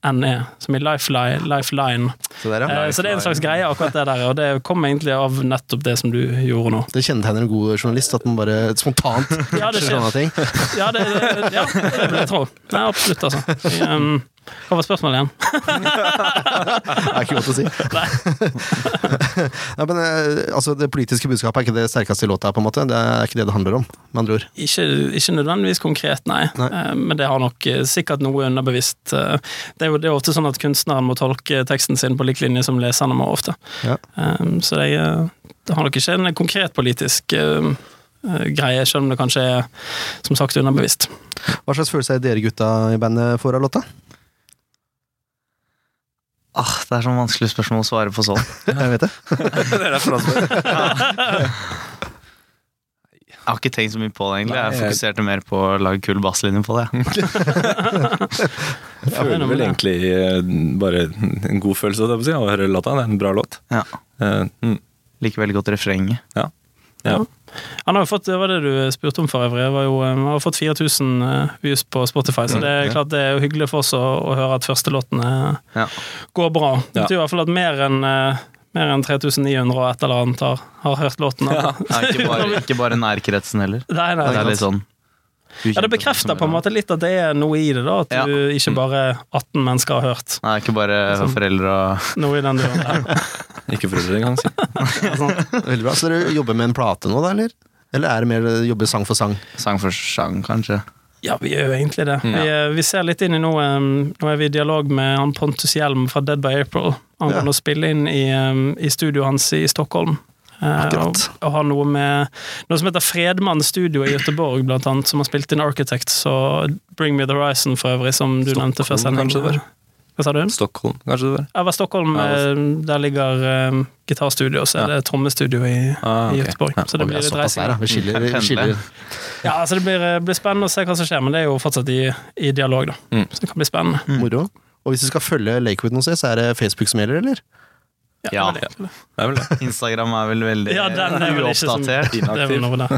S6: NE, som i Lifeline, Lifeline.
S3: Så der, ja.
S6: Eh, Så det er en slags greie, akkurat det der, og det kom egentlig av nettopp det som du gjorde nå.
S3: Det kjennetegner en god journalist, at man bare spontant
S6: Ja, det
S3: catcher sånne ting.
S6: Ja, det, det- ja, det vil jeg tro. Nei, absolutt, altså. Jeg, ehm, hva var spørsmålet igjen?
S3: Det er ikke godt å si. Nei, men eh, altså, Det politiske budskapet er ikke det sterkeste i låta, på en måte. Det er ikke det det handler om, med andre ord.
S6: Ikke, ikke nødvendigvis konkret, nei.
S3: Nei.
S6: Eh, Men det har nok eh, sikkert noe underbevisst. eh, Det er jo det er ofte sånn at kunstneren må tolke teksten sin på lik linje som leserne må ofte.
S3: Ja.
S6: Eh, Så det, eh, det har nok ikke en konkret politisk eh, eh, greie, selv om det kanskje er som sagt underbevisst.
S3: Hva slags følelse er dere gutta i bandet får av låta?
S1: Ah, det er sånn vanskelig spørsmål å svare på sånn.
S3: Jeg vet det.
S1: Jeg har ikke tenkt så mye på det, egentlig.
S5: Nei,
S1: Jeg
S5: jeg-
S1: fokuserte mer på å lage kul basslinje på det.
S9: Jeg
S6: det er
S9: føler
S6: noe med
S9: vel
S6: det.
S9: egentlig eh, bare en god følelse av å høre låta. Det er en bra låt.
S1: Ja.
S9: Eh, mm.
S1: Liker veldig godt refrenget.
S6: Han har jo fått, det var det du spurte om for øvrig, var jo, eh, han har fått 4000 eh, views på Spotify, så det er klart det er jo hyggelig for oss å, å høre at førstelåten eh,
S1: Ja.
S6: går bra. Det
S9: Ja.
S6: betyr i hvert fall at mer enn eh, mer enn 3900 og et eller annet har, har hørt låten. Ja.
S1: Nei, ikke, bare, ikke bare nærkretsen heller.
S6: Nei, nei,
S1: Det er litt sånn
S6: ja, det bekrefter på en måte litt at det er noe i det, da. At
S1: Ja.
S6: du ikke bare 18 mennesker har hørt
S1: Nei, ikke bare
S6: Sånn.
S1: foreldre og
S6: noe i den duren. der.
S9: Ikke foreldre engang. si.
S3: Veldig bra. Så dere jobber med en plate nå, da, eller? Eller er det mer eh, jobber sang for sang?
S1: sang for sang, kanskje.
S6: Ja, vi gjør jo egentlig det.
S9: Mm.
S6: Vi, eh, vi ser litt inn i noe um, Nå er vi i dialog med han Pontus Hjelm fra Dead by April angående å spille inn i, um, i studioet hans i Stockholm. Eh, og,
S3: Akkurat.
S6: og har noe med noe som heter Fredmann Studio i Göteborg, blant annet, som har spilt inn Architects og Bring Me The Horizon, for øvrig, som du nevnte før
S9: Stockholm,
S6: sending.
S9: kanskje det var?
S6: Hva sa du?
S9: Stockholm, kanskje det var.
S6: Ja, det var Stockholm,
S9: Ja, det
S6: eh, der ligger eh, gitarstudio, så er det trommestudio i,
S9: Ah,
S6: i
S9: ok.
S6: Göteborg.
S9: Ja,
S6: Så det
S3: Og vi
S6: blir
S3: er
S6: litt
S3: såpass
S6: reising.
S3: der, da. Vi skiller, vi skiller.
S6: Ja, så det blir, eh, blir spennende å se hva som skjer, men det er jo fortsatt i, i dialog, da.
S9: Mm.
S6: Så det kan bli spennende.
S3: moro. Og hvis du skal følge Lakewood noe sted, så er det Facebook som gjelder, eller?
S1: Ja.
S6: det er vel det.
S9: Det er vel det.
S1: Instagram er vel veldig
S6: Ja, den er vel ikke som-
S1: uoppdatert.
S6: Det er vel noe der.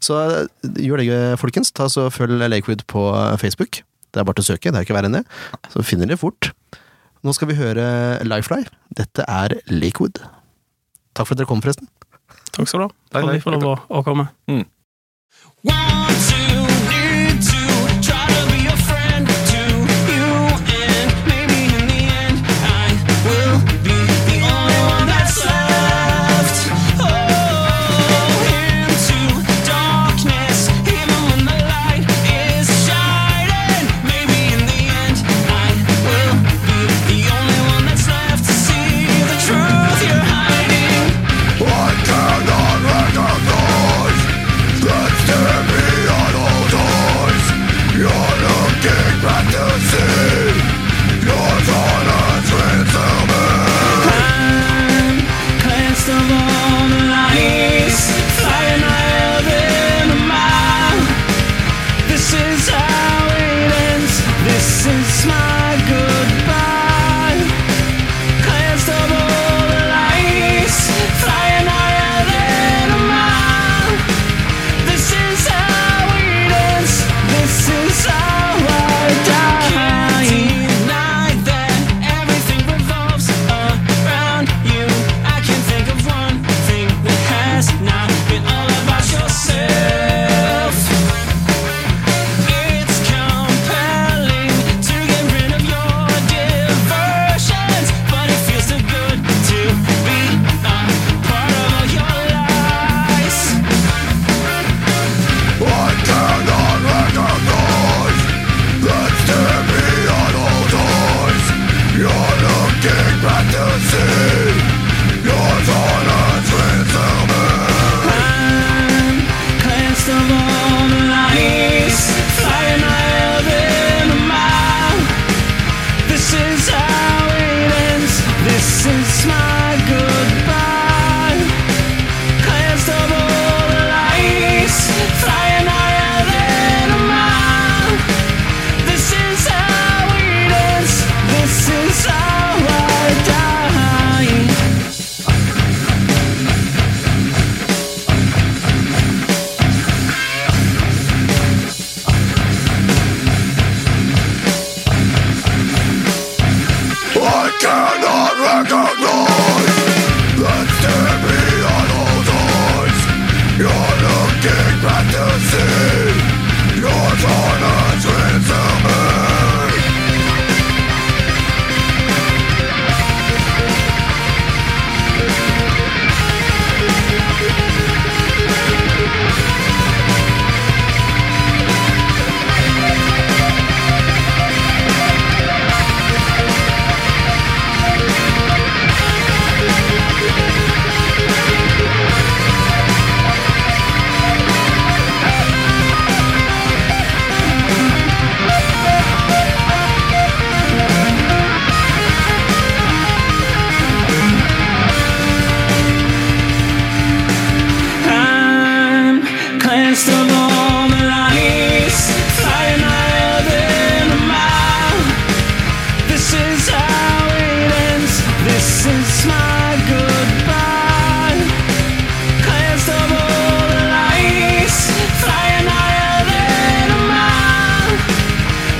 S3: Så eh, gjør det, folkens. Ta så Følg Lakewood på eh, Facebook. Det er bare til å søke, det er ikke verre enn det. Så finner dere fort. Nå skal vi høre Lifely. Dette er Lakewood. Takk for at dere kom, forresten.
S6: Takk skal du ha. For at vi får lov å, å komme.
S10: I cannot recognize that's staring me on cannot recognize that there be all times. You're looking back to see your silence will me.
S6: I'm cleansed of all maladies. Cyanide in a mile. This is how it ends. This is my goodbye. Cleansed of all maladies. Cyanide in a mile.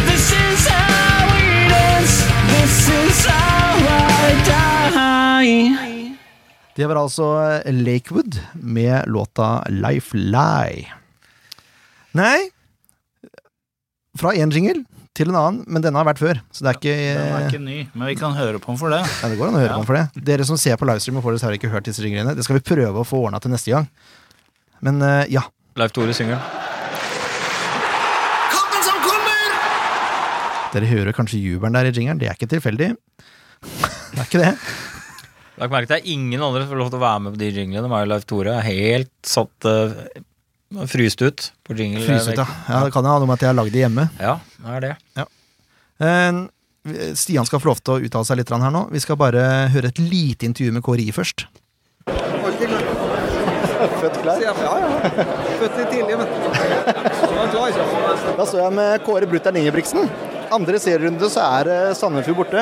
S6: This is how it ends. This is how I die.
S3: Det var altså Lakewood med låta Life Lie. Nei Fra én jingle til en annen, men denne har vært før. Så det er ikke,
S5: Den er ikke ny, men vi kan høre på den for det.
S3: Nei, det går an å høre
S5: Ja.
S3: på den for det. Dere som ser på livestream og får det, så har dere ikke hørt disse jinglene. Det skal vi prøve å få ordna til neste gang. Men eh, ja.
S2: Leif Tore synger.
S10: Kampen som kommer!
S3: Dere hører kanskje jubelen der i jingelen. Det er ikke tilfeldig. Det er ikke det.
S2: Lagt merke til det er ingen andre som får lov til å være med på de jinglene. Meg og Leif Tore er helt satt eh, fryst ut på jingle.
S3: Fryset, ja. ja. Det kan jo ha noe med at jeg har lagd det hjemme.
S2: Ja, det er det.
S3: Eh, Stian skal få lov til å uttale seg litt her nå. Vi skal bare høre et lite intervju med KRI først. Da står jeg med Kåre Brutter'n Ingebrigtsen. Andre serierunde så er eh, Sandefjord borte.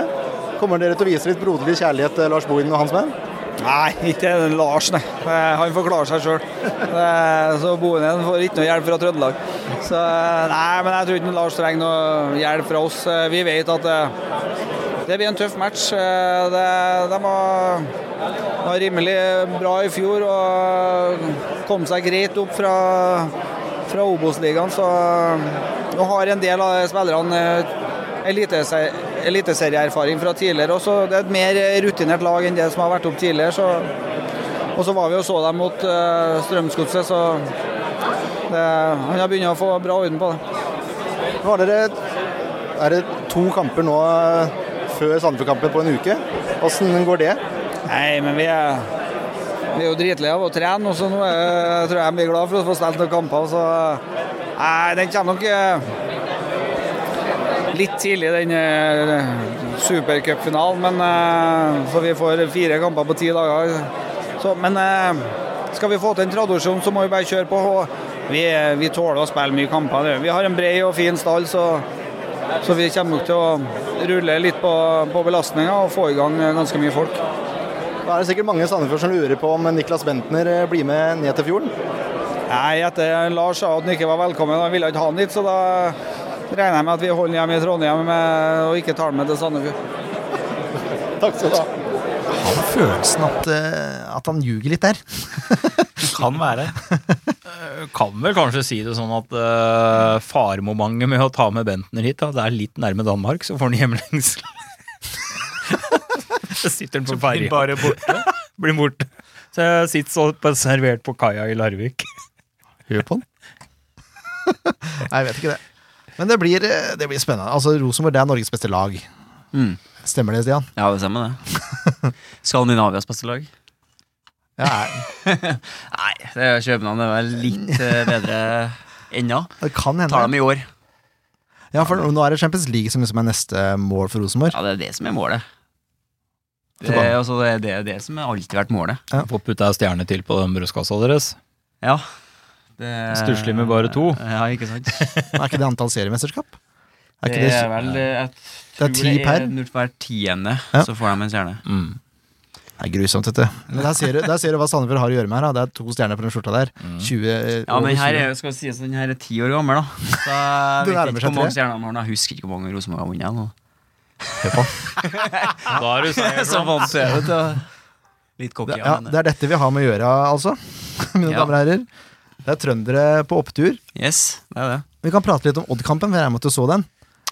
S3: Kommer dere til å vise litt broderlig kjærlighet til Lars Bohin og hans menn?
S11: Nei, ikke Lars, nei. Eh, Han får klare seg sjøl. eh, Så Bohinen får ikke noe hjelp fra Trøndelag. Så eh, nei, men jeg tror ikke Lars trenger noe hjelp fra oss. Eh, Vi vet at eh, det blir en tøff match. Eh, Det, de var, var rimelig bra i fjor og kom seg greit opp fra, fra Obos-ligaen, så nå har en del av spillerne eh, elitese- eliteserieerfaring fra tidligere. Og så det er et mer rutinert lag enn det som har vært opp tidligere. Så, og så var vi og så dem mot eh, Strømsgodset, så det, han har begynt å få bra orden på det.
S3: Nå har dere er det to kamper nå eh, før Sandefjord-kampen på en uke. Åssen går det?
S11: Nei, men vi er, vi er jo dritlige av å trene, og så nå er, tror jeg de blir glad for å få spilt noen kamper. Så nei, den kommer nok eh, litt tidlig, den eh, supercupfinalen. Men eh, så vi får fire kamper på ti dager. Så, men eh, skal vi få til en tradisjon, så må vi bare kjøre på. Og vi, vi tåler å spille mye kamper. det. Vi har en bred og fin stall, så, så vi kommer nok til å rulle litt på, på belastninga og få i gang eh, ganske mye folk.
S3: Da er det sikkert mange i Sandefjord som lurer på om Niklas Bentner eh, blir med ned til fjorden.
S11: Nei, etter Lars sa at han ikke var velkommen, og han ville ikke ha han dit, så da regner jeg med at vi holder han hjemme i Trondheim med, og ikke tar han med til Sandefjord.
S3: Jeg har følelsen at, eh, at han ljuger litt der.
S5: Kan være.
S2: Kan vel kanskje si det sånn at eh, faremomentet med å ta med Bentner hit, da, det er litt nærme Danmark, så får han hjemlengs. så sitter han på ferja. Bare borte. Blir borte. Så jeg sitter så på, servert på kaia i Larvik.
S3: Hør på den. Nei, jeg vet ikke det. Men det blir, eh, det blir spennende. Altså, Rosenborg det er Norges beste lag.
S4: Mm.
S3: Stemmer det, Stian?
S4: Ja, det stemmer det. Skandinavias beste lag?
S3: Ja,
S4: Nei, det er København er vel litt eh, bedre ennå.
S3: det kan hende.
S4: Tar dem i år.
S3: Ja, for nå er det Champions League som liksom er neste mål for Rosenborg.
S4: Ja, det er det som er målet. Det
S3: Tilbake.
S4: er, altså, det, er det, det som har alltid vært målet.
S2: Får putta ei stjerne til på den brødskassa deres.
S4: Ja. Det,
S2: Stusslig med bare to.
S4: Ja, ikke sant?
S3: Er ikke det antall seriemesterskap? Er ikke
S4: det
S3: det,
S4: er vel eh, Jeg tror
S3: ti per.
S4: er når hver tiende,
S3: Ja.
S4: så får de en stjerne.
S2: Mm.
S3: det er grusomt, dette. Men der ser, du, der ser du hva Sandefjord har å gjøre med her. Da. Det er to stjerner på den skjorta der. 20, eh,
S4: Ja,
S3: over
S4: men her
S3: 20.
S4: er, skal vi si at den her er ti år gammel, da. Så jeg
S3: Det
S4: vet
S3: nærmer
S4: ikke
S3: seg
S4: hvor mange
S3: tre.
S4: stjerner de har. nå. Jeg husker ikke hvor mange Rosenborg har vunnet. nå.
S2: Da er du
S4: Så
S2: seier.
S4: vanskelig. Litt cocky,
S3: Ja,
S4: ja. men,
S3: det er dette vi har med å gjøre, altså. Mine
S4: Ja.
S3: damer og herrer. Det er trøndere på opptur.
S4: Yes, det er det.
S3: Vi kan prate litt om Odd-kampen, for jeg måtte så den.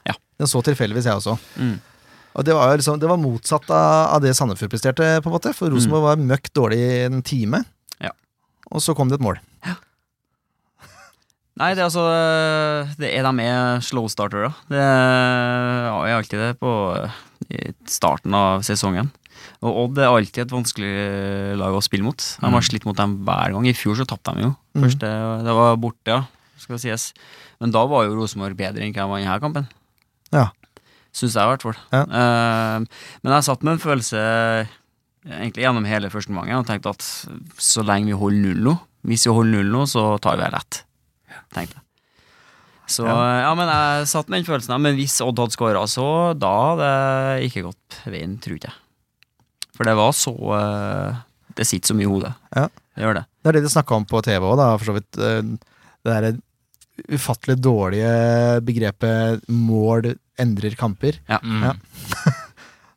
S4: Ja.
S3: Den så tilfeldigvis, jeg også.
S4: Mm.
S3: Og det var, jo liksom, det var motsatt av, av det Sandefjord presterte, på en måte. For Rosenborg var møkk dårlig i en time.
S4: Ja.
S3: Og så kom det et mål.
S4: Nei, det er altså det er, De er slow startere. Det er ja, er alltid det på eh, i starten av sesongen. Og Odd er alltid et vanskelig eh, lag å spille mot. De
S3: Mm.
S4: har slitt mot dem hver gang. I fjor så tapte de jo. Først det, det var borte, ja. Skal sies. Men da var jo Rosenborg bedre enn hva de var i denne kampen.
S3: Ja.
S4: Syns jeg, i hvert fall.
S3: Ja.
S4: Eh, men jeg satt med en følelse eh, egentlig gjennom hele første omgang og tenkte at så lenge vi holder null nå, hvis vi holder null nå, så tar vi det lett tenkte jeg. Så eh, ja. men jeg satt med den følelsen. her, Men hvis Odd hadde skåra, så da hadde det ikke gått veien, tror ikke jeg. For det var så eh, Det sitter så mye i hodet.
S3: Ja.
S4: Det gjør det.
S3: Det er det de snakka om på TV òg, da, for så vidt. eh, Det derre ufattelig dårlige begrepet 'mål endrer kamper'.
S4: Ja.
S2: Mm.
S3: Ja.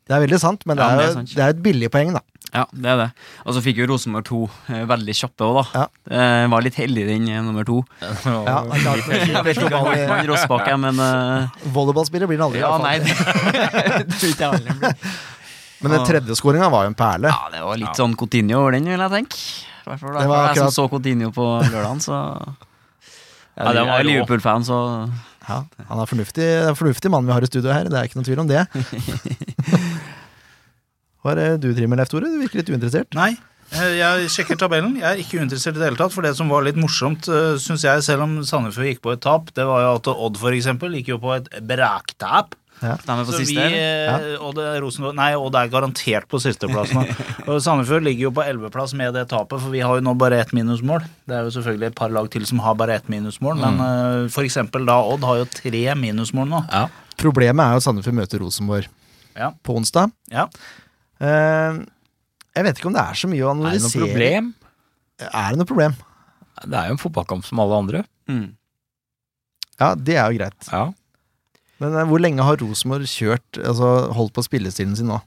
S3: Det er veldig sant, men det
S4: Ja,
S3: er,
S4: men det er
S3: jo-
S4: sant.
S3: det er et billig poeng, da.
S4: ja, det er det. Og så fikk jo Rosenborg to eh, veldig kjappe òg, da. Eh, var litt heldig, den eh, nummer to.
S3: Ja, det er klart.
S4: Jeg vet ikke om han Rossbakk er, men eh,
S3: Volleyballspiller blir den aldri. i
S4: Ja,
S3: hvert fall.
S4: nei. Det,
S3: Men
S4: det tror ikke jeg heller blir.
S3: den tredje skåringa var jo en perle.
S4: Ja, det var litt sånn Coutinho over den, vil jeg tenke. I hvert fall da,
S3: Det
S4: for
S3: var
S4: jeg som
S3: akkurat-
S4: så Coutinho på lørdagen, så Jeg
S2: Ja,
S4: er
S2: den var
S4: jeg er
S2: rå.
S4: Liverpool-fan, så
S3: Ja, han er fornuftig, det er en fornuftig mann vi har i studio her, det er ikke noen tvil om det. Hva er det du driver med, Leif Tore? Du virker litt uinteressert.
S5: Nei. eh, Jeg sjekker tabellen. Jeg er ikke uinteressert i det hele tatt. For det som var litt morsomt, eh, synes jeg, selv om Sandefjord gikk på et tap, det var jo at Odd for eksempel gikk jo på et braktap.
S4: de er på
S5: Så vi,
S4: siste. eller?
S5: eh, Odd, er Rosengård, nei, Odd er garantert på sisteplass nå. Og Sandefjord ligger jo på elleveplass med det tapet, for vi har jo nå bare ett minusmål. Det er jo selvfølgelig et par lag til som har bare ett minusmål, men
S4: Mm.
S5: eh, for eksempel da Odd har jo tre minusmål nå.
S3: Problemet er jo at Sandefjord møter Rosenborg
S5: Ja.
S3: på onsdag.
S5: Ja.
S3: Eh, jeg vet ikke om det er så mye å
S2: Er det noe
S3: analysere.
S2: problem?
S3: Er det noe problem?
S2: Det er jo en fotballkamp som alle andre.
S4: Mm.
S3: Ja, det er jo greit.
S2: Ja.
S3: Men eh, hvor lenge har Rosenborg kjørt, altså holdt på spillestilen sin nå?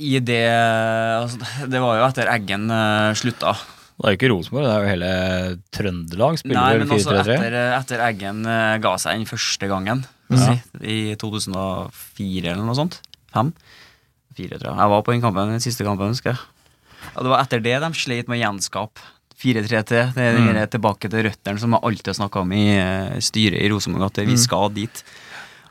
S4: I det altså, Det var jo etter Eggen eh, slutta.
S2: Det er jo ikke Rosenborg, det er jo hele Trøndelag
S4: Nei,
S2: spiller
S4: men altså,
S2: vel
S4: også
S2: 4-3-3.
S4: etter, etter Eggen eh, ga seg den første gangen. vil jeg Si, I 2004 eller noe sånt. Fem? Fire, tror jeg. Jeg var på den kampen, den siste kampen, husker jeg. Og det var etter det de sleit med å gjenskape 4-3-3. Det er
S3: Mm.
S4: den der tilbake til røttene som jeg alltid har snakka om i eh, styret i Rosenborg, at
S3: Mm.
S4: vi skal dit.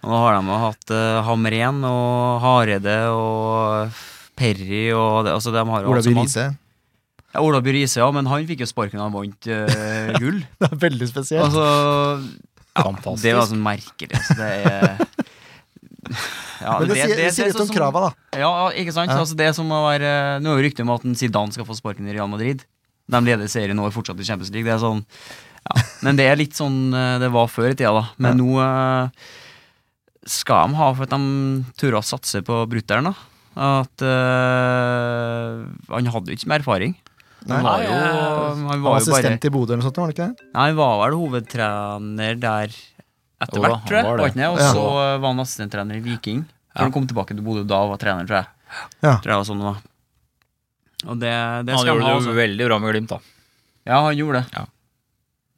S4: Og nå har de jo hatt eh, Hamren og Hareide og Perry og det, altså de har jo
S3: Ola
S4: hatt så
S3: By
S4: mange-
S3: Riise?
S4: Ja, Ola By Riise, ja, men han fikk jo sparken da han vant eh, gull.
S3: Det er veldig spesielt.
S4: Altså,
S2: Fantastisk.
S4: det var sånn merkelig. Altså, det er Ja,
S3: Men det, sier, det sier
S4: er
S3: litt
S4: sånn
S3: om krava, da.
S4: som- Ja, ikke sant?
S3: Ja.
S4: Altså, det er som å være, nå er jo ryktet om at en Zidane skal få sparken i Real Madrid. De leder serien og er fortsatt i Champions League. Det er sånn, ja. Men det er litt sånn eh, det var før i tida, da. Men nå eh, skal de ha for at de turte å satse på brutter'n, da. At eh, Han hadde jo ikke mer erfaring. Han var
S3: Nei.
S4: jo, han
S3: Han
S4: var
S3: var
S4: jo bare
S3: assistent i Bodø eller noe sånt, var han ikke det?
S4: Nei, han var vel hovedtrener der etter
S2: Jo da,
S4: hvert, tror jeg.
S2: han var det.
S4: Var ikke det? Og
S3: Ja.
S4: så eh, var han assistenttrener i Viking. For
S2: Ja.
S4: Han kom tilbake til Bodø da og var trener, tror jeg.
S3: Ja.
S4: Tror jeg var sånn det var. Og det, det skal
S2: Han
S4: han ha.
S2: gjorde det
S4: altså.
S2: jo veldig bra med Glimt, da.
S4: Ja, han gjorde det.
S2: Ja.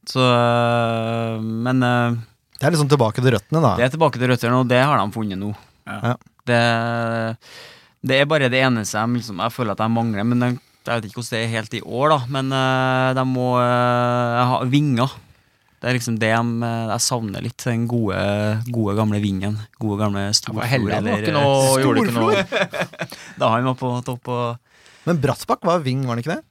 S4: Så eh, Men eh,
S3: Det er liksom tilbake til røttene, da.
S4: det er tilbake til røttene, og det har de funnet nå.
S3: Ja.
S4: Det, det er bare det eneste jeg, liksom, jeg føler at jeg mangler, men jeg, jeg vet ikke hvordan det er helt i år, da. Men eh, de må eh, ha vinger. Det er liksom det de, eh, jeg savner litt. Den gode, gode gamle vingen. Gode gamle
S2: For
S4: storflor.
S2: Helland
S4: eller-
S2: var
S4: eh,
S2: ikke noe, gjorde ikke noe
S4: Da han var på topp og
S3: Men Brattbakk var wing, var han ikke det?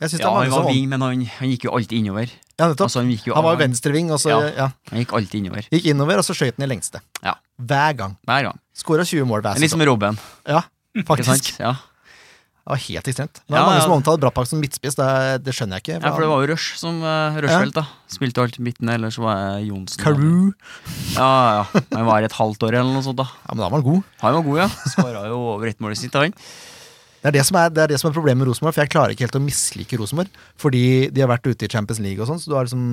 S3: Jeg synes det
S4: Ja,
S3: er
S4: han
S3: mange som
S4: var ving, men han, han gikk jo alltid innover.
S3: Ja, nettopp.
S4: Altså, han, gikk jo,
S3: han var jo venstreving, og så
S4: Ja.
S3: ja.
S4: han gikk alltid innover.
S3: gikk innover, og så skøyt han i lengste.
S4: Ja.
S3: Hver gang.
S4: Hver gang.
S3: Skåra 20 mål hver
S4: Litt som
S3: sesong.
S4: Robben,
S3: Ja,
S4: ikke sant?
S3: faktisk.
S4: Ja.
S3: Det var helt ekstremt. Det er
S4: Ja,
S3: mange
S4: ja.
S3: som omtaler Brattbakk som midtspiss, det, det skjønner jeg ikke.
S4: Ja, for det var jo Rush som uh, Rushfeldt, da. Spilte jo alltid midten, ellers var jeg Johnsen.
S3: Carew.
S4: Ja, ja, ja. Han var et halvt år eller noe sånt, da.
S3: Ja, men da var han god.
S4: Han var god, ja. Skåra jo over ett mål i sitt, han.
S3: Det er det, som er, det er det som er problemet med Rosenborg, for jeg klarer ikke helt å mislike Rosenborg. Fordi de har vært ute i Champions League og sånn, så du har liksom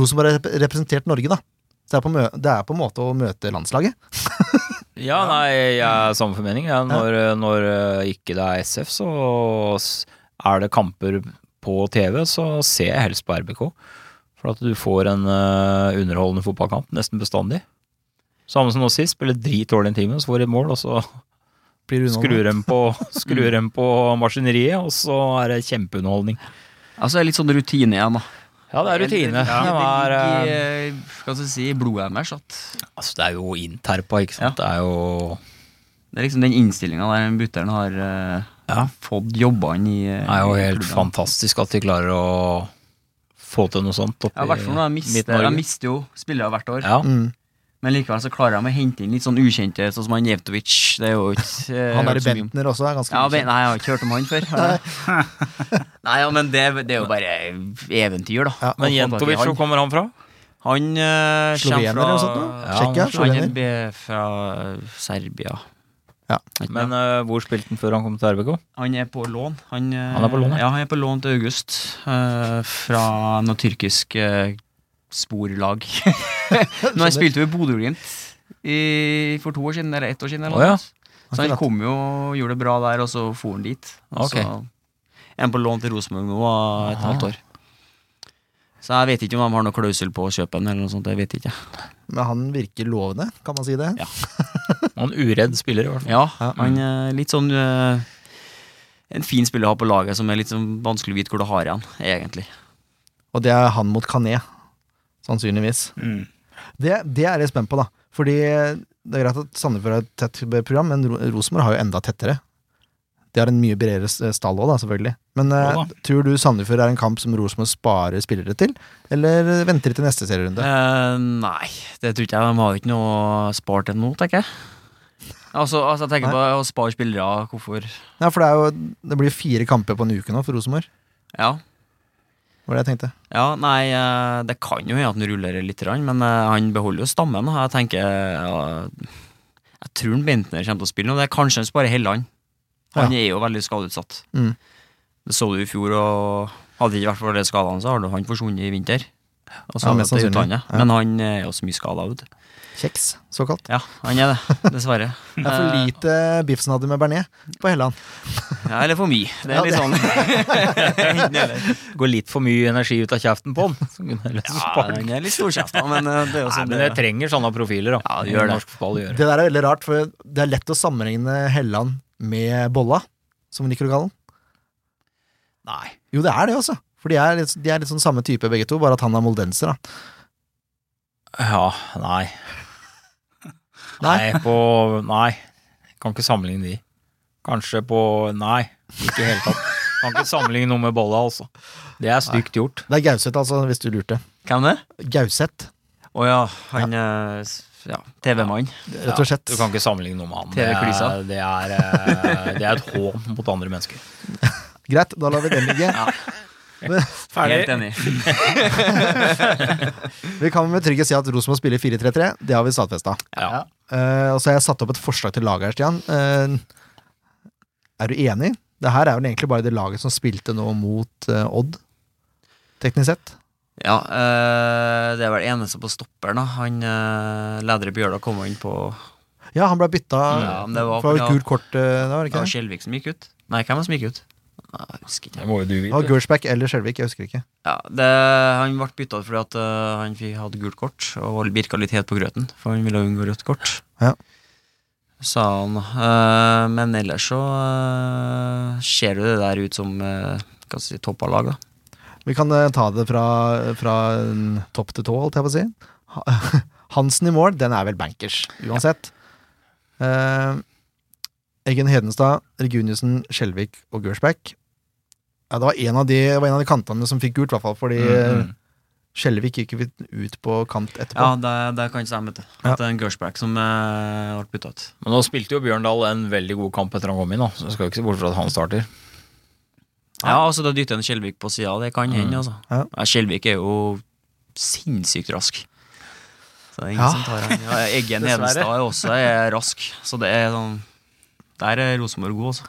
S3: Rosenborg har rep- representert Norge, da. Så det er på, mø det er på en måte å møte landslaget.
S2: Ja, nei, jeg er samme formening. Ja. Når, når eh, ikke det er SF, så s- er det kamper på TV, så ser jeg helst på RBK. For at du får en eh, underholdende fotballkamp nesten bestandig. Samme som nå sist, spiller dritdårlig en time, så får de et mål, og så
S3: Blir det
S2: skrur de på, skrur de på maskineriet, og så er det kjempeunderholdning.
S4: Altså, det er litt sånn rutine igjen, da.
S2: Ja, det er rutine.
S4: Det, det,
S2: Det, er,
S4: ligger
S2: eh,
S4: i, eh, hva skal jeg si, i blodet deres at
S2: altså, det er jo interpa, ikke sant. Det er jo
S4: det er liksom den innstillinga der den butteren har eh, fått jobbene i eh,
S2: Det er jo
S4: i
S2: helt
S4: klubben.
S2: fantastisk at de klarer å få til noe sånt oppi
S4: Ja, i hvert fall når de mister, de
S2: Midt-Norge.
S4: mister jo spillere hvert år.
S2: Ja.
S3: Mm.
S4: Men likevel så klarer de å hente inn litt sånn ukjente, sånn som han Jevtovic. Det er jo ikke eh,
S3: Han der
S4: hørt så mye om.
S3: Bentner også er ganske
S4: Ja,
S3: ukjent.
S4: men, nei, jeg har ikke hørt om han før. nei, ja, men det, det er jo bare eventyr, da.
S3: Ja,
S4: Å
S2: Men
S4: få tak i
S2: Jentovic, hvor
S4: han.
S2: kommer han fra?
S4: Han eh,
S3: Slovener
S4: kommer
S3: eller noe
S4: fra
S3: sånt nå?
S2: Ja,
S3: Tsjekkia?
S2: han-
S4: Han
S3: Slovener?
S4: er be- fra Serbia.
S2: Men eh, hvor spilte han før han kom til RBK?
S4: Han er på lån. Han, eh,
S2: Han er på lån, ja.
S4: ja. Han er på lån til august eh, fra noe tyrkisk eh, sporlag. Men han spilte jo i Bodø-Glimt i- for to år siden, eller ett år siden. Eller
S2: Å, ja.
S4: noe sånt. Så han kom jo og gjorde det bra der, og så for han dit. Og
S2: Ok.
S4: så er han på lån til Rosenborg nå eh, et halvt år. Så jeg vet ikke om de har noe klausul på å kjøpe den, eller noe sånt. Jeg vet ikke.
S3: Men han virker lovende, kan man si det?
S2: Han uredd spiller, i hvert fall.
S4: Ja, han er litt sånn eh, En fin spiller å ha på laget, som er litt sånn vanskelig å vite hvor du har han, egentlig.
S3: Og det er han mot Kané, sannsynligvis.
S5: Mm.
S3: Det, det er jeg litt spent på, da. Fordi det er greit at Sandefjord har et tett program, men Ro- Rosenborg har jo enda tettere. De har en mye bredere s- stall òg, da, selvfølgelig. Men eh,
S5: Jo da.
S3: tror du Sandefjord er en kamp som Rosenborg sparer spillere til, eller venter de til neste serierunde?
S4: Eh, nei, det tror ikke jeg. De har jo ikke noe spart ennå, tenker jeg. Altså, altså jeg tenker på å spare spillere, hvorfor
S3: Nei, for det, er jo, det blir jo fire kamper på en uke nå for Rosenborg,
S4: Ja.
S3: var det jeg tenkte.
S4: ja nei, eh, det kan jo hende at han rullerer litt, grann, men eh, han beholder jo stammen. og Jeg tenker ja, Jeg tror han Bentner kommer til å spille nå. Det er kanskje han sparer Helland. Han er jo veldig skadeutsatt.
S3: Mm.
S4: Det så du i fjor, og hadde ikke vært for de skadene, så hadde han forsvunnet i vinter. Og så
S3: Ja,
S4: hadde
S3: mest
S4: han til
S3: sannsynlig.
S4: utlandet.
S3: Ja.
S4: Men han er jo så mye skada, vet du.
S3: Kjeks, såkalt.
S4: Ja, han er det, dessverre.
S3: Det er for lite Biffsen hadde med Bernet på Helland.
S4: Ja, eller for mye. Det er litt sånn. Enten eller.
S2: Går litt for mye energi ut av kjeften på han. Så kunne jeg lyst
S4: Ja,
S2: til å sparke.
S4: den er litt storkjefta, men eh, det er jo sånn
S2: Nei, altså. men
S4: det
S2: jeg trenger sånne profiler, da.
S4: Ja, det gjør det.
S2: Norsk fotball gjør det.
S3: Det der er veldig rart, for det er lett å sammenligne Helland med Bolla, som vi liker å kalle den.
S2: Nei.
S3: Jo, det er det, altså. For de er, litt, de er litt sånn samme type, begge to, bare at han er moldenser, da.
S2: Ja, nei. Nei, på Nei. Kan ikke sammenligne de. Kanskje på Nei, ikke i det hele tatt. Kan ikke sammenligne noe med bolla, altså. Det er stygt gjort.
S3: Det er Gauseth, altså, hvis du lurte.
S4: Hvem det?
S3: Gauseth,
S4: Å ja, han eh, s- ja, TV-mann.
S3: rett og slett.
S2: Du kan ikke sammenligne noe med han. Det
S4: TV-klisa.
S2: er, det er, eh, det er et hån mot andre mennesker.
S3: Greit, da lar vi den ligge.
S4: Helt enig.
S3: Vi kan med trygghet si at Rosenborg spiller 4-3-3. Det har vi stadfesta.
S2: Ja.
S3: Eh, og så har jeg satt opp et forslag til laget her, Stian. Eh, er du enig? Det her er vel egentlig bare det laget som spilte nå mot eh, Odd, teknisk sett.
S4: Ja, eh, det er vel eneste på stopperen, da. Han uh, leder i Bjørla kom inn på
S3: Ja, han ble bytta
S4: Ja, men det var-
S3: for det var
S4: ja.
S3: gult kort. eh, Det var
S4: Det
S3: ikke
S4: var
S3: det?
S4: Skjelvik som gikk ut. Nei, hvem var det som gikk ut? Nei, jeg husker ikke.
S2: Det må jo du
S3: Det var Gursbæk eller Skjelvik, jeg husker ikke.
S4: Ja, det, han ble bytta ut fordi at eh, han fikk, hadde gult kort og virka litt het på grøten. For han ville unngå rødt kort,
S3: Ja.
S4: sa han. Eh, men ellers så eh, ser jo det der ut som eh, hva skal jeg si, topp av lag, da.
S3: Vi kan eh, ta det fra, fra mm, topp til tå, holdt jeg på å si. Ha- Hansen i mål, den er vel bankers, uansett. Eh, Eggen Hedenstad, Reguniussen, Skjelvik og Gursbæk. Ja, det var en av de, det var en av de kantene som fikk gult, i hvert fall,
S2: Mm,
S3: fordi eh, Skjelvik gikk jo ut på kant etterpå.
S4: Ja, det, det kan stemme, vet du. At det er en Gershback som eh, ble bytta ut.
S2: Men nå spilte jo Bjørndal en veldig god kamp etter han kom inn, da. så jeg skal jo ikke se bort fra at han starter.
S4: Ja, altså da dytter en Skjelvik på sida, det kan hende, altså.
S3: Ja.
S4: Ja, Skjelvik er jo sinnssykt rask. Så det er ingen
S3: Ja.
S4: som tar han. Ja, Eggen Hedenstad er også er rask, så det er sånn Der er Rosenborg god, altså.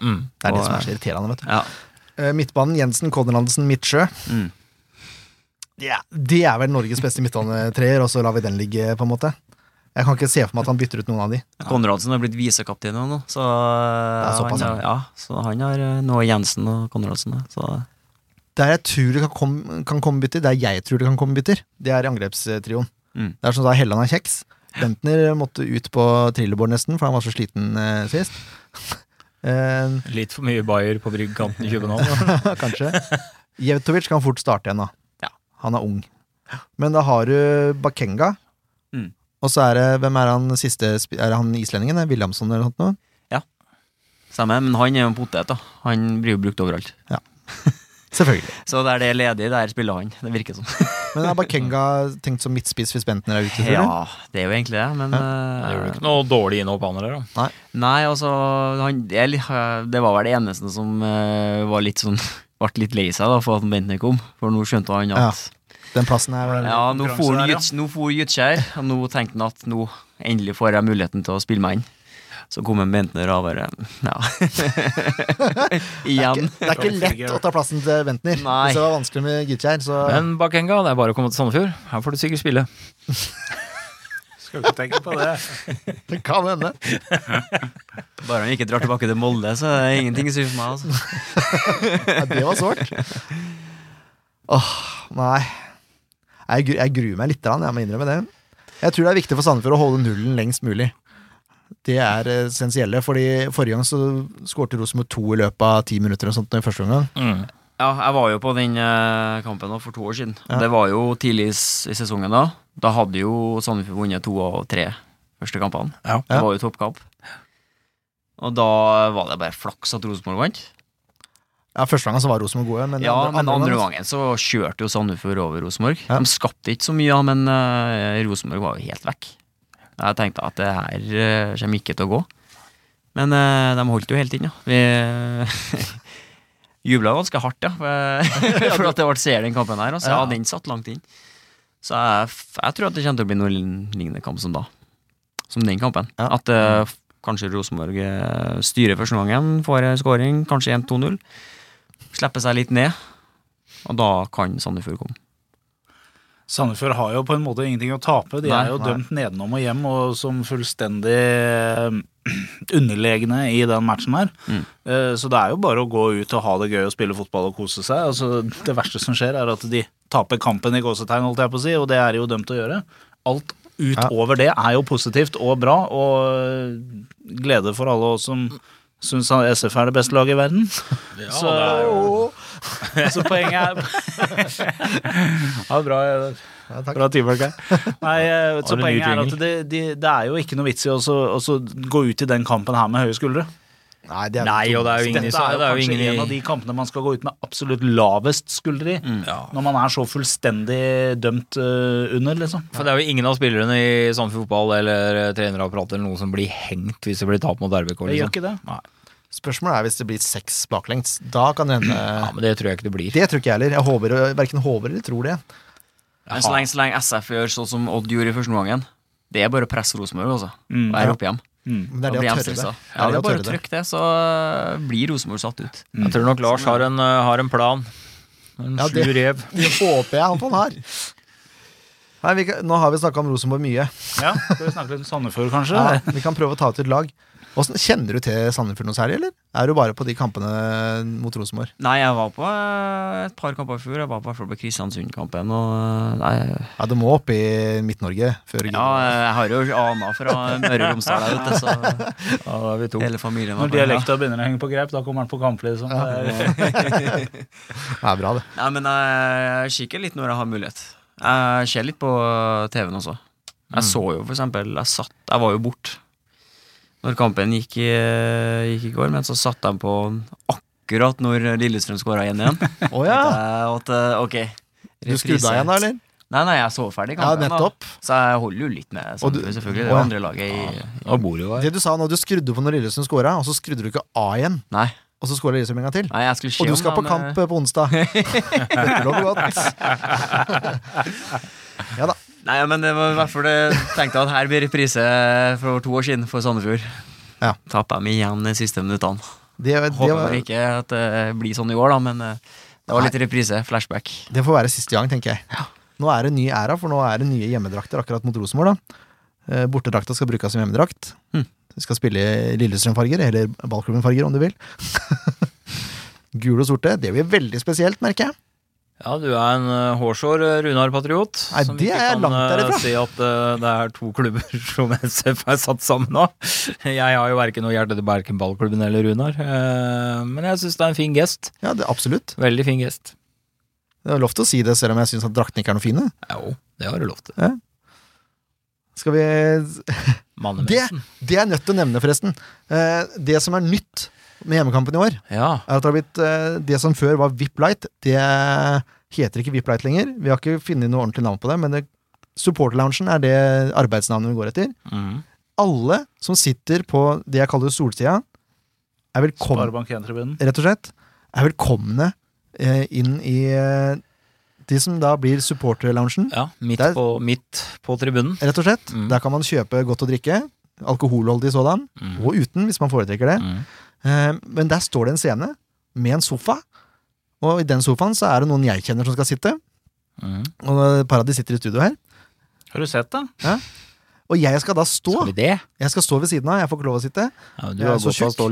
S2: Mm.
S3: det er det
S4: og,
S3: som er så irriterende, vet du.
S4: Ja.
S3: Eh, midtbanen Jensen, Konradsen, Midtsjø.
S4: Mm.
S3: Ja, det er vel Norges beste midtbanetreer, og så lar vi den ligge, på en måte. Jeg kan ikke se for meg at han bytter ut noen av de.
S4: Konradsen er blitt visekaptein nå, nå, så, eh,
S3: er såpass,
S4: han, har- ja, så han har eh, nå Jensen og Konradsen. da, Så
S3: Der jeg tror det kan komme, kan komme bytter, der jeg tror det kan komme bytter, det er i angrepstrioen.
S4: Mm.
S3: Det er som da Helland har kjeks. Bentner måtte ut på trillebår nesten, for han var så sliten eh, sist. Eh,
S2: Litt for mye Bayer på bryggekanten i København. da.
S3: kanskje. Jevtovic kan fort starte igjen, da.
S4: Ja.
S3: Han er ung. Men da har du Bakenga.
S4: Mm.
S3: Og så er det Hvem er han siste sp- Er det han islendingen? eh, Williamson eller noe sånt? nå?
S4: stemmer, men han er jo en potet, da. Han blir jo brukt overalt.
S3: Selvfølgelig.
S4: Så der det er ledig, der spiller han. Det virker sånn.
S3: Men er Bakenga tenkt som midtspiss hvis Bentner er ute? tror du?
S4: Ja, det er jo egentlig det, men
S2: Det gjorde
S4: eh,
S2: ikke noe dårlig innhopp, han der. da.
S4: Nei, altså han, jeg, li- øh, Det var vel det eneste som øh, var litt sånn ble litt lei seg da for at Bentner kom, for nå skjønte han at
S3: Den plassen er
S4: Ja,
S3: vel
S4: nå
S5: konkurranse
S4: for
S5: der,
S4: han
S5: ja.
S4: Gyts- nå for Gytskjær, og nå tenkte han at nå endelig får jeg muligheten til å spille meg inn. Så kom en Bentner og bare Ja. Igjen.
S3: Det er ikke lett å ta plassen til Bentner.
S4: Nei.
S3: Hvis det var vanskelig med Gytkjær, så
S2: Men Bakenga, det er bare å komme til Sandefjord. Her får du sikkert spille.
S5: Skal ikke tenke på det.
S3: det kan hende.
S4: Bare han ikke drar tilbake til Molde, så er det ingenting som for meg. Altså.
S3: Nei, det var sårt. Åh, nei. Jeg, gru- jeg gruer meg litt, grann, jeg må innrømme det. Jeg tror det er viktig for Sandefjord å holde nullen lengst mulig. Det er eh, essensielle, fordi forrige gang så skårte Rosenborg to i løpet av ti minutter eller sånt i første omgang.
S2: Mm.
S4: Ja, jeg var jo på den eh, kampen da, for to år siden.
S3: Ja.
S4: Det var jo tidlig i s- i sesongen da. Da hadde jo Sandefjord vunnet to av tre første kampene.
S2: Ja.
S4: Det var jo toppkamp. Og da var det bare flaks at Rosenborg vant.
S3: Ja, Første gangen så var Rosenborg gode, men,
S4: Ja, men andre
S3: gangen-
S4: gangen så kjørte jo Sandefjord over Rosenborg.
S3: Ja.
S4: De skapte ikke så mye, da, men eh, Rosenborg var jo helt vekk. Jeg tenkte at det her eh, kommer ikke til å gå. Men eh, de holdt jo helt inn, ja. Vi jubla ganske hardt, ja. For at det ble seier den kampen her. Altså. Ja.
S3: Ja.
S4: den satt langt inn. Så jeg, f- jeg tror at det kommer til å bli noe lignende kamp som da. Som den kampen.
S3: Ja.
S4: At eh, f- kanskje Rosenborg eh, styrer første gangen, får en scoring, kanskje 1-2-0. Slipper seg litt ned, og da kan Sandefjord komme.
S5: Sandefjord har jo på en måte ingenting å tape. De
S4: Nei,
S5: er jo
S3: nei.
S5: dømt nedenom og hjem og som fullstendig eh, underlegne i den matchen her.
S4: Mm.
S5: Eh, Så det er jo bare å gå ut og ha det gøy og spille fotball og kose seg. Altså, det verste som skjer, er at de taper kampen i gåsetegn, holdt jeg på å si, og det er de jo dømt til å gjøre. Alt utover det er jo positivt og bra, og glede for alle oss som syns SF er det beste laget i verden. Så, så poenget er Ja, bra. eh,
S3: Ja, takk.
S5: Bra teamwork her. Nei, eh, så
S2: Har du ny
S5: poenget er at
S2: jingle?
S5: det, de, det er jo ikke noe vits i å så- å så gå ut i den kampen her med høye skuldre.
S3: Nei, det er
S2: Nei, og det er jo ingen i
S5: altså, Dette er jo
S2: det er jo
S5: kanskje
S2: ingen
S5: en av
S2: i
S5: de kampene man skal gå ut med absolutt lavest skuldre i.
S2: ja.
S5: Når man er så fullstendig dømt eh, under, liksom.
S2: For det er jo ingen av spillerne i Sandefjord fotball eller eh, trenerapparatet eller noen som blir hengt hvis det blir tap mot RBK.
S5: Det gjør ikke
S2: Liksom.
S5: det.
S3: Spørsmålet er hvis det blir seks baklengs. Da kan det hende
S2: Ja, men det tror jeg ikke det blir.
S3: Det tror ikke jeg heller. Jeg håper, Verken håper eller tror det.
S4: Men så lenge, så lenge SF gjør sånn som Odd gjorde i første omgangen, det er bare å presse Rosenborg, altså.
S5: Mm.
S4: Være oppe igjen.
S3: Men det
S4: Da
S3: er
S4: blir
S3: det
S4: de
S3: å tørre det.
S4: stressa.
S3: å
S4: Ja, det er bare
S3: tørre
S4: å
S3: det.
S4: trykke det, så blir Rosenborg satt ut.
S2: Mm. Jeg tror nok Lars har en, eh, har en plan. En
S3: Ja,
S2: slu
S3: det-
S2: rev.
S3: Det håper jeg at han har. Nei, vi kan, nå har vi snakka om Rosenborg mye.
S5: Ja, Skal vi snakke litt om Sandefjord, kanskje?
S3: Ja, vi kan prøve å ta ut et lag. Hvordan, kjenner du til Sandefjord noe særlig, eller? Er du bare på de kampene mot Rosenborg?
S4: Nei, jeg var på eh, et par kamper i fjor. Jeg var på, hvert fall på Kristiansund-kampen. Og eh, nei,
S3: Ja, du må opp i Midt-Norge før
S4: ja, eh, jeg har jo ana fra Møre og Romsdal, jeg vet det,
S2: Ja, da er vi
S4: så
S2: to.
S4: hele familien var
S5: Når
S4: på. Ja.
S5: dialekta begynner å henge på grep, da kommer han på kamplyd. Liksom. Det er-
S3: Det er bra, det.
S4: Nei, men jeg kikker litt når jeg har mulighet. Jeg ser litt på TV-en også. Jeg
S3: Mm.
S4: så jo for eksempel Jeg satt Jeg var jo bort Når kampen gikk i, gikk i går, men så satt de på akkurat når Lillestrøm skåra 1-1.
S3: Å ja!
S4: At, eh, ok.
S3: Du skrudde av igjen, da, eller?
S4: Nei, nei, jeg så ferdig
S3: Ja,
S4: kampen. da.
S3: nettopp.
S4: Så jeg holder jo litt med
S3: Og du-
S4: Sandefjord, selvfølgelig.
S3: Å,
S4: Det er
S3: ja.
S4: andre laget i
S2: Da bor du jo her.
S3: Det du sa nå, du skrudde på når Lillesund scora, og så skrudde du ikke av igjen.
S4: Nei,
S3: Og så scora Lillesund en gang til.
S4: nei jeg skulle se
S3: Og du
S4: om
S3: skal på
S4: de, eh,
S3: kamp på onsdag. Dette lover godt. Ja da.
S4: Nei, men det var i hvert fall det tenkte jeg at her blir reprise for to år siden for Sandefjord.
S3: Ja.
S4: Tapper dem igjen de siste minuttene.
S3: Det, det,
S4: Håper
S3: var-
S4: ikke at det blir sånn i år, da, men eh, Det var litt reprise, flashback.
S3: Det får være siste gang, tenker jeg. Nå er det en ny æra, for nå er det nye hjemmedrakter akkurat mot Rosenborg. da. Eh, Bortedrakta skal brukes som hjemmedrakt. Vi skal spille i Lillestrøm-farger, eller ballklubben-farger, om du vil. Gule og sorte. Det blir veldig spesielt, merker jeg.
S2: Ja, du er en eh, hårsår eh, Runar Patriot.
S3: Nei,
S2: som
S3: det
S2: ikke
S3: er jeg
S2: kan,
S3: langt
S2: eh,
S3: derifra.
S2: Se at eh, det er to klubber som SF er satt sammen av. Jeg har jo verken noe hjerte til verken ballklubben eller Runar. eh, Men jeg syns det er en fin gest.
S3: Ja, det, Absolutt.
S2: Veldig fin gest.
S3: Det er lov til å si det, selv om jeg syns draktene ikke er noe fine.
S2: Jo, det har du lov til.
S3: Skal vi det,
S2: Mannemensen.
S3: det er jeg nødt til å nevne, forresten. Eh, Det som er nytt med hjemmekampen i år,
S2: Ja.
S3: er at det har blitt eh, Det som før var VIP Light, det heter ikke VIP Light lenger. Vi har ikke funnet noe ordentlig navn på det, men det, supporterloungen er det arbeidsnavnet vi går etter.
S2: Mm.
S3: Alle som sitter på det jeg kaller solsida, er velkomne,
S5: Sparebank 1-tribunen.
S3: rett og slett, er velkomne eh, inn i eh, de som da blir supporterloungen,
S2: ja midt,
S3: Det er-
S2: på, midt på tribunen.
S3: rett og slett.
S2: Mm.
S3: Der kan man kjøpe godt å drikke. Alkoholholdig sådan, og uten, hvis man foretrekker det.
S2: Mm.
S3: Eh, Men der står det en scene med en sofa, og i den sofaen så er det noen jeg kjenner som skal sitte.
S2: Mm.
S3: Og et par av de sitter i studio her.
S5: Har du sett det?
S3: Og jeg skal da stå.
S2: Skal vi det?
S3: Jeg skal stå ved siden av, jeg får ikke lov å sitte.
S2: Ja, du
S3: Jeg er
S2: har
S3: så
S2: godt av å
S3: tjukk.
S2: stå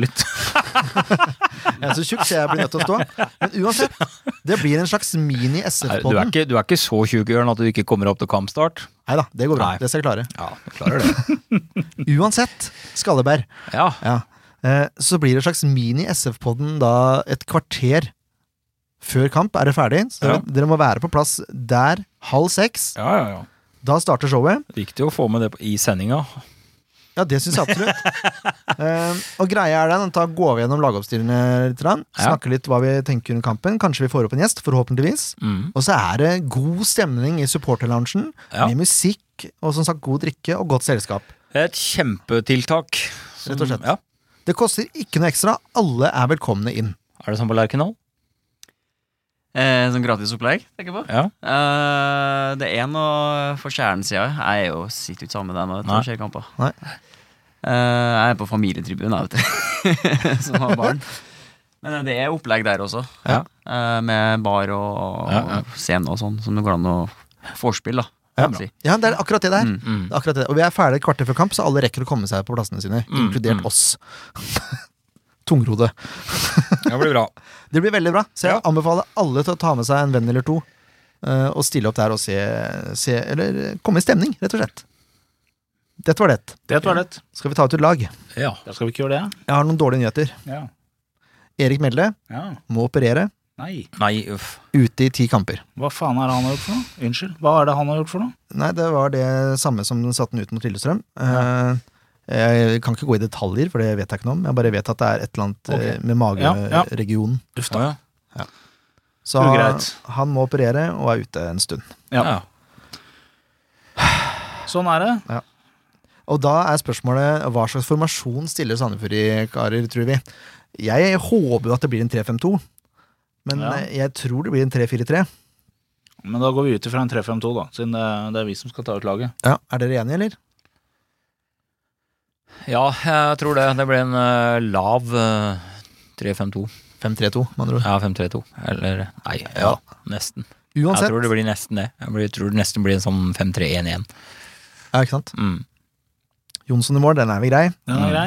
S2: litt.
S3: Jeg er så tjukk, så jeg blir nødt til å stå. Men uansett, det blir en slags
S2: Nei, Du er
S3: mini-SF-podden.
S2: ikke, du er ikke så tjukk, Jørn, at du ikke kommer opp til kampstart.
S3: Nei da, det går bra.
S2: Nei.
S3: Det skal jeg klare.
S2: Ja, du klarer det.
S3: Uansett, Skalleberg,
S2: Ja,
S3: ja. Eh, så blir det en slags mini-SF-podden da et kvarter før kamp er det ferdig. Så
S2: Ja.
S3: dere må være på plass der halv seks.
S2: ja, ja. ja.
S3: Da starter showet.
S2: Viktig å få med det på- i sendinga.
S3: Ja, det syns jeg absolutt. Eh, og greia er den, da går vi gjennom lagoppstillingene litt. grann,
S2: Ja.
S3: Snakker litt hva vi tenker under kampen. Kanskje vi får opp en gjest, forhåpentligvis.
S2: Mm.
S3: Og så er det god stemning i supporterloungen,
S2: Ja.
S3: med musikk og som sagt god drikke og godt selskap.
S2: Et kjempetiltak. Som-
S3: Rett og slett.
S2: Ja.
S3: Det koster ikke noe ekstra, alle er velkomne inn.
S2: Er det sånn på Lerkendal?
S4: Eh, sånn gratisopplegg, tenker jeg på.
S2: Ja.
S4: Eh, det er noe for kjernesida. Jeg er jo sitter jo ikke sammen med deg nå, vet du,
S2: Nei.
S4: og ser kamper.
S3: Nei.
S4: Eh, jeg er på familietribunen, jeg, vet du. Som har barn. Men eh, det er opplegg der også.
S2: Ja.
S4: Eh, med bar og, og
S2: Ja, ja.
S4: scene og sånn, som det går an å vorspiel, da.
S3: Ja,
S4: kan man si.
S3: Ja, det er akkurat det det er.
S4: Mm,
S3: Det er akkurat det. Og vi er ferdig et kvarter før kamp, så alle rekker å komme seg på plassene sine.
S2: Mm,
S3: Inkludert
S2: mm.
S3: oss. Tungrode.
S2: Det blir bra.
S3: Det blir veldig bra. Så jeg anbefaler alle til å ta med seg en venn eller to. eh, og stille opp der og se, se Eller eh, komme i stemning, rett og slett. Dette var det.
S5: Det var det.
S3: Skal vi ta ut et lag? Jeg
S2: Ja.
S5: Da skal vi ikke gjøre det.
S3: har noen dårlige nyheter.
S5: Ja.
S3: Erik Melle
S5: ja.
S3: må operere
S5: Nei.
S2: Nei, uff.
S3: ute i ti kamper.
S5: Hva faen er det han har gjort for noe? Unnskyld. Hva er det han har gjort for noe?
S3: Nei, det var det samme som den satte den ut mot Lillestrøm. Eh, jeg kan ikke gå i detaljer, for det vet jeg ikke noe om. Jeg bare vet at det er et eller annet eh, med
S5: Ja, ja.
S3: mageregionen.
S5: Uff
S2: Å, ja.
S3: Så han,
S5: Ugreit.
S3: han må operere og er ute en stund.
S5: Ja.
S2: Ja.
S5: Sånn er det.
S3: Og da er spørsmålet hva slags formasjon stiller Sandefjord i, karer, tror vi. Jeg håper jo at det blir en 3-5-2, men
S5: Ja.
S3: eh, jeg tror det blir en 3-4-3.
S5: Men da går vi ut ifra en 3-5-2, da, siden det, det er vi som skal ta ut laget.
S3: Ja. Er dere enige, eller?
S2: ja, jeg tror det. Det ble en eh, lav eh, 3-5-2.
S3: 5-3-2, med andre ord.
S2: Ja, 5-3-2. Eller nei, ja, nesten. Jeg
S3: Uansett.
S2: tror det blir nesten det. Jeg blir, tror det nesten blir en sånn 5-3-1-1.
S3: Ja, ikke sant?
S2: Mm.
S3: Jonsson i mål, den er vel grei.
S5: Den er grei.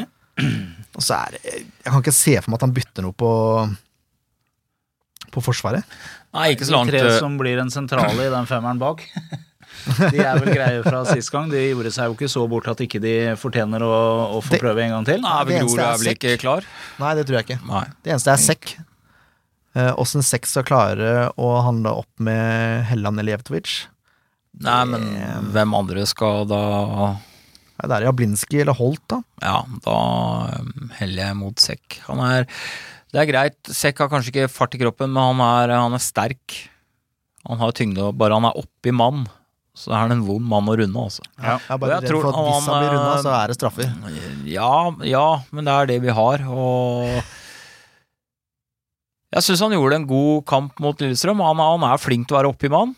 S3: Og så er det Jeg kan ikke se for meg at han bytter noe på på Forsvaret.
S2: Nei, ikke så langt.
S5: De
S2: eh,
S5: tre som blir en sentrale i den femmeren bak. De er vel greie fra sist gang. De gjorde seg jo ikke så bort at ikke de fortjener å, å få
S3: Det-
S5: prøve en gang til.
S2: Nei,
S3: det
S2: vel,
S3: eneste
S2: Ola
S3: er
S2: er vel ikke
S3: sekk.
S2: klar?
S3: Nei, det tror jeg ikke.
S2: Nei.
S3: Det eneste er sekk. Eh, Åssen sekk skal klare å handle opp med Helland eller Jevtovic?
S2: Nei, men hvem andre skal da
S3: Ja, Det er Jablinski eller Holt, da.
S2: Ja, da um, heller jeg mot Sekk. Han er Det er greit, Sekk har kanskje ikke fart i kroppen, men han er, han er sterk. Han har tyngde, og bare han er oppi mann, så er han en vond mann å runde, altså.
S3: Jeg er bare
S2: Og jeg
S3: redd
S2: tror
S3: for at hvis han
S2: han,
S3: blir runda,
S2: eh,
S3: så er det straffer.
S2: Ja, ja, men det er det vi har, og Jeg syns han gjorde en god kamp mot Lillestrøm. Han, han er flink til å være oppi mann.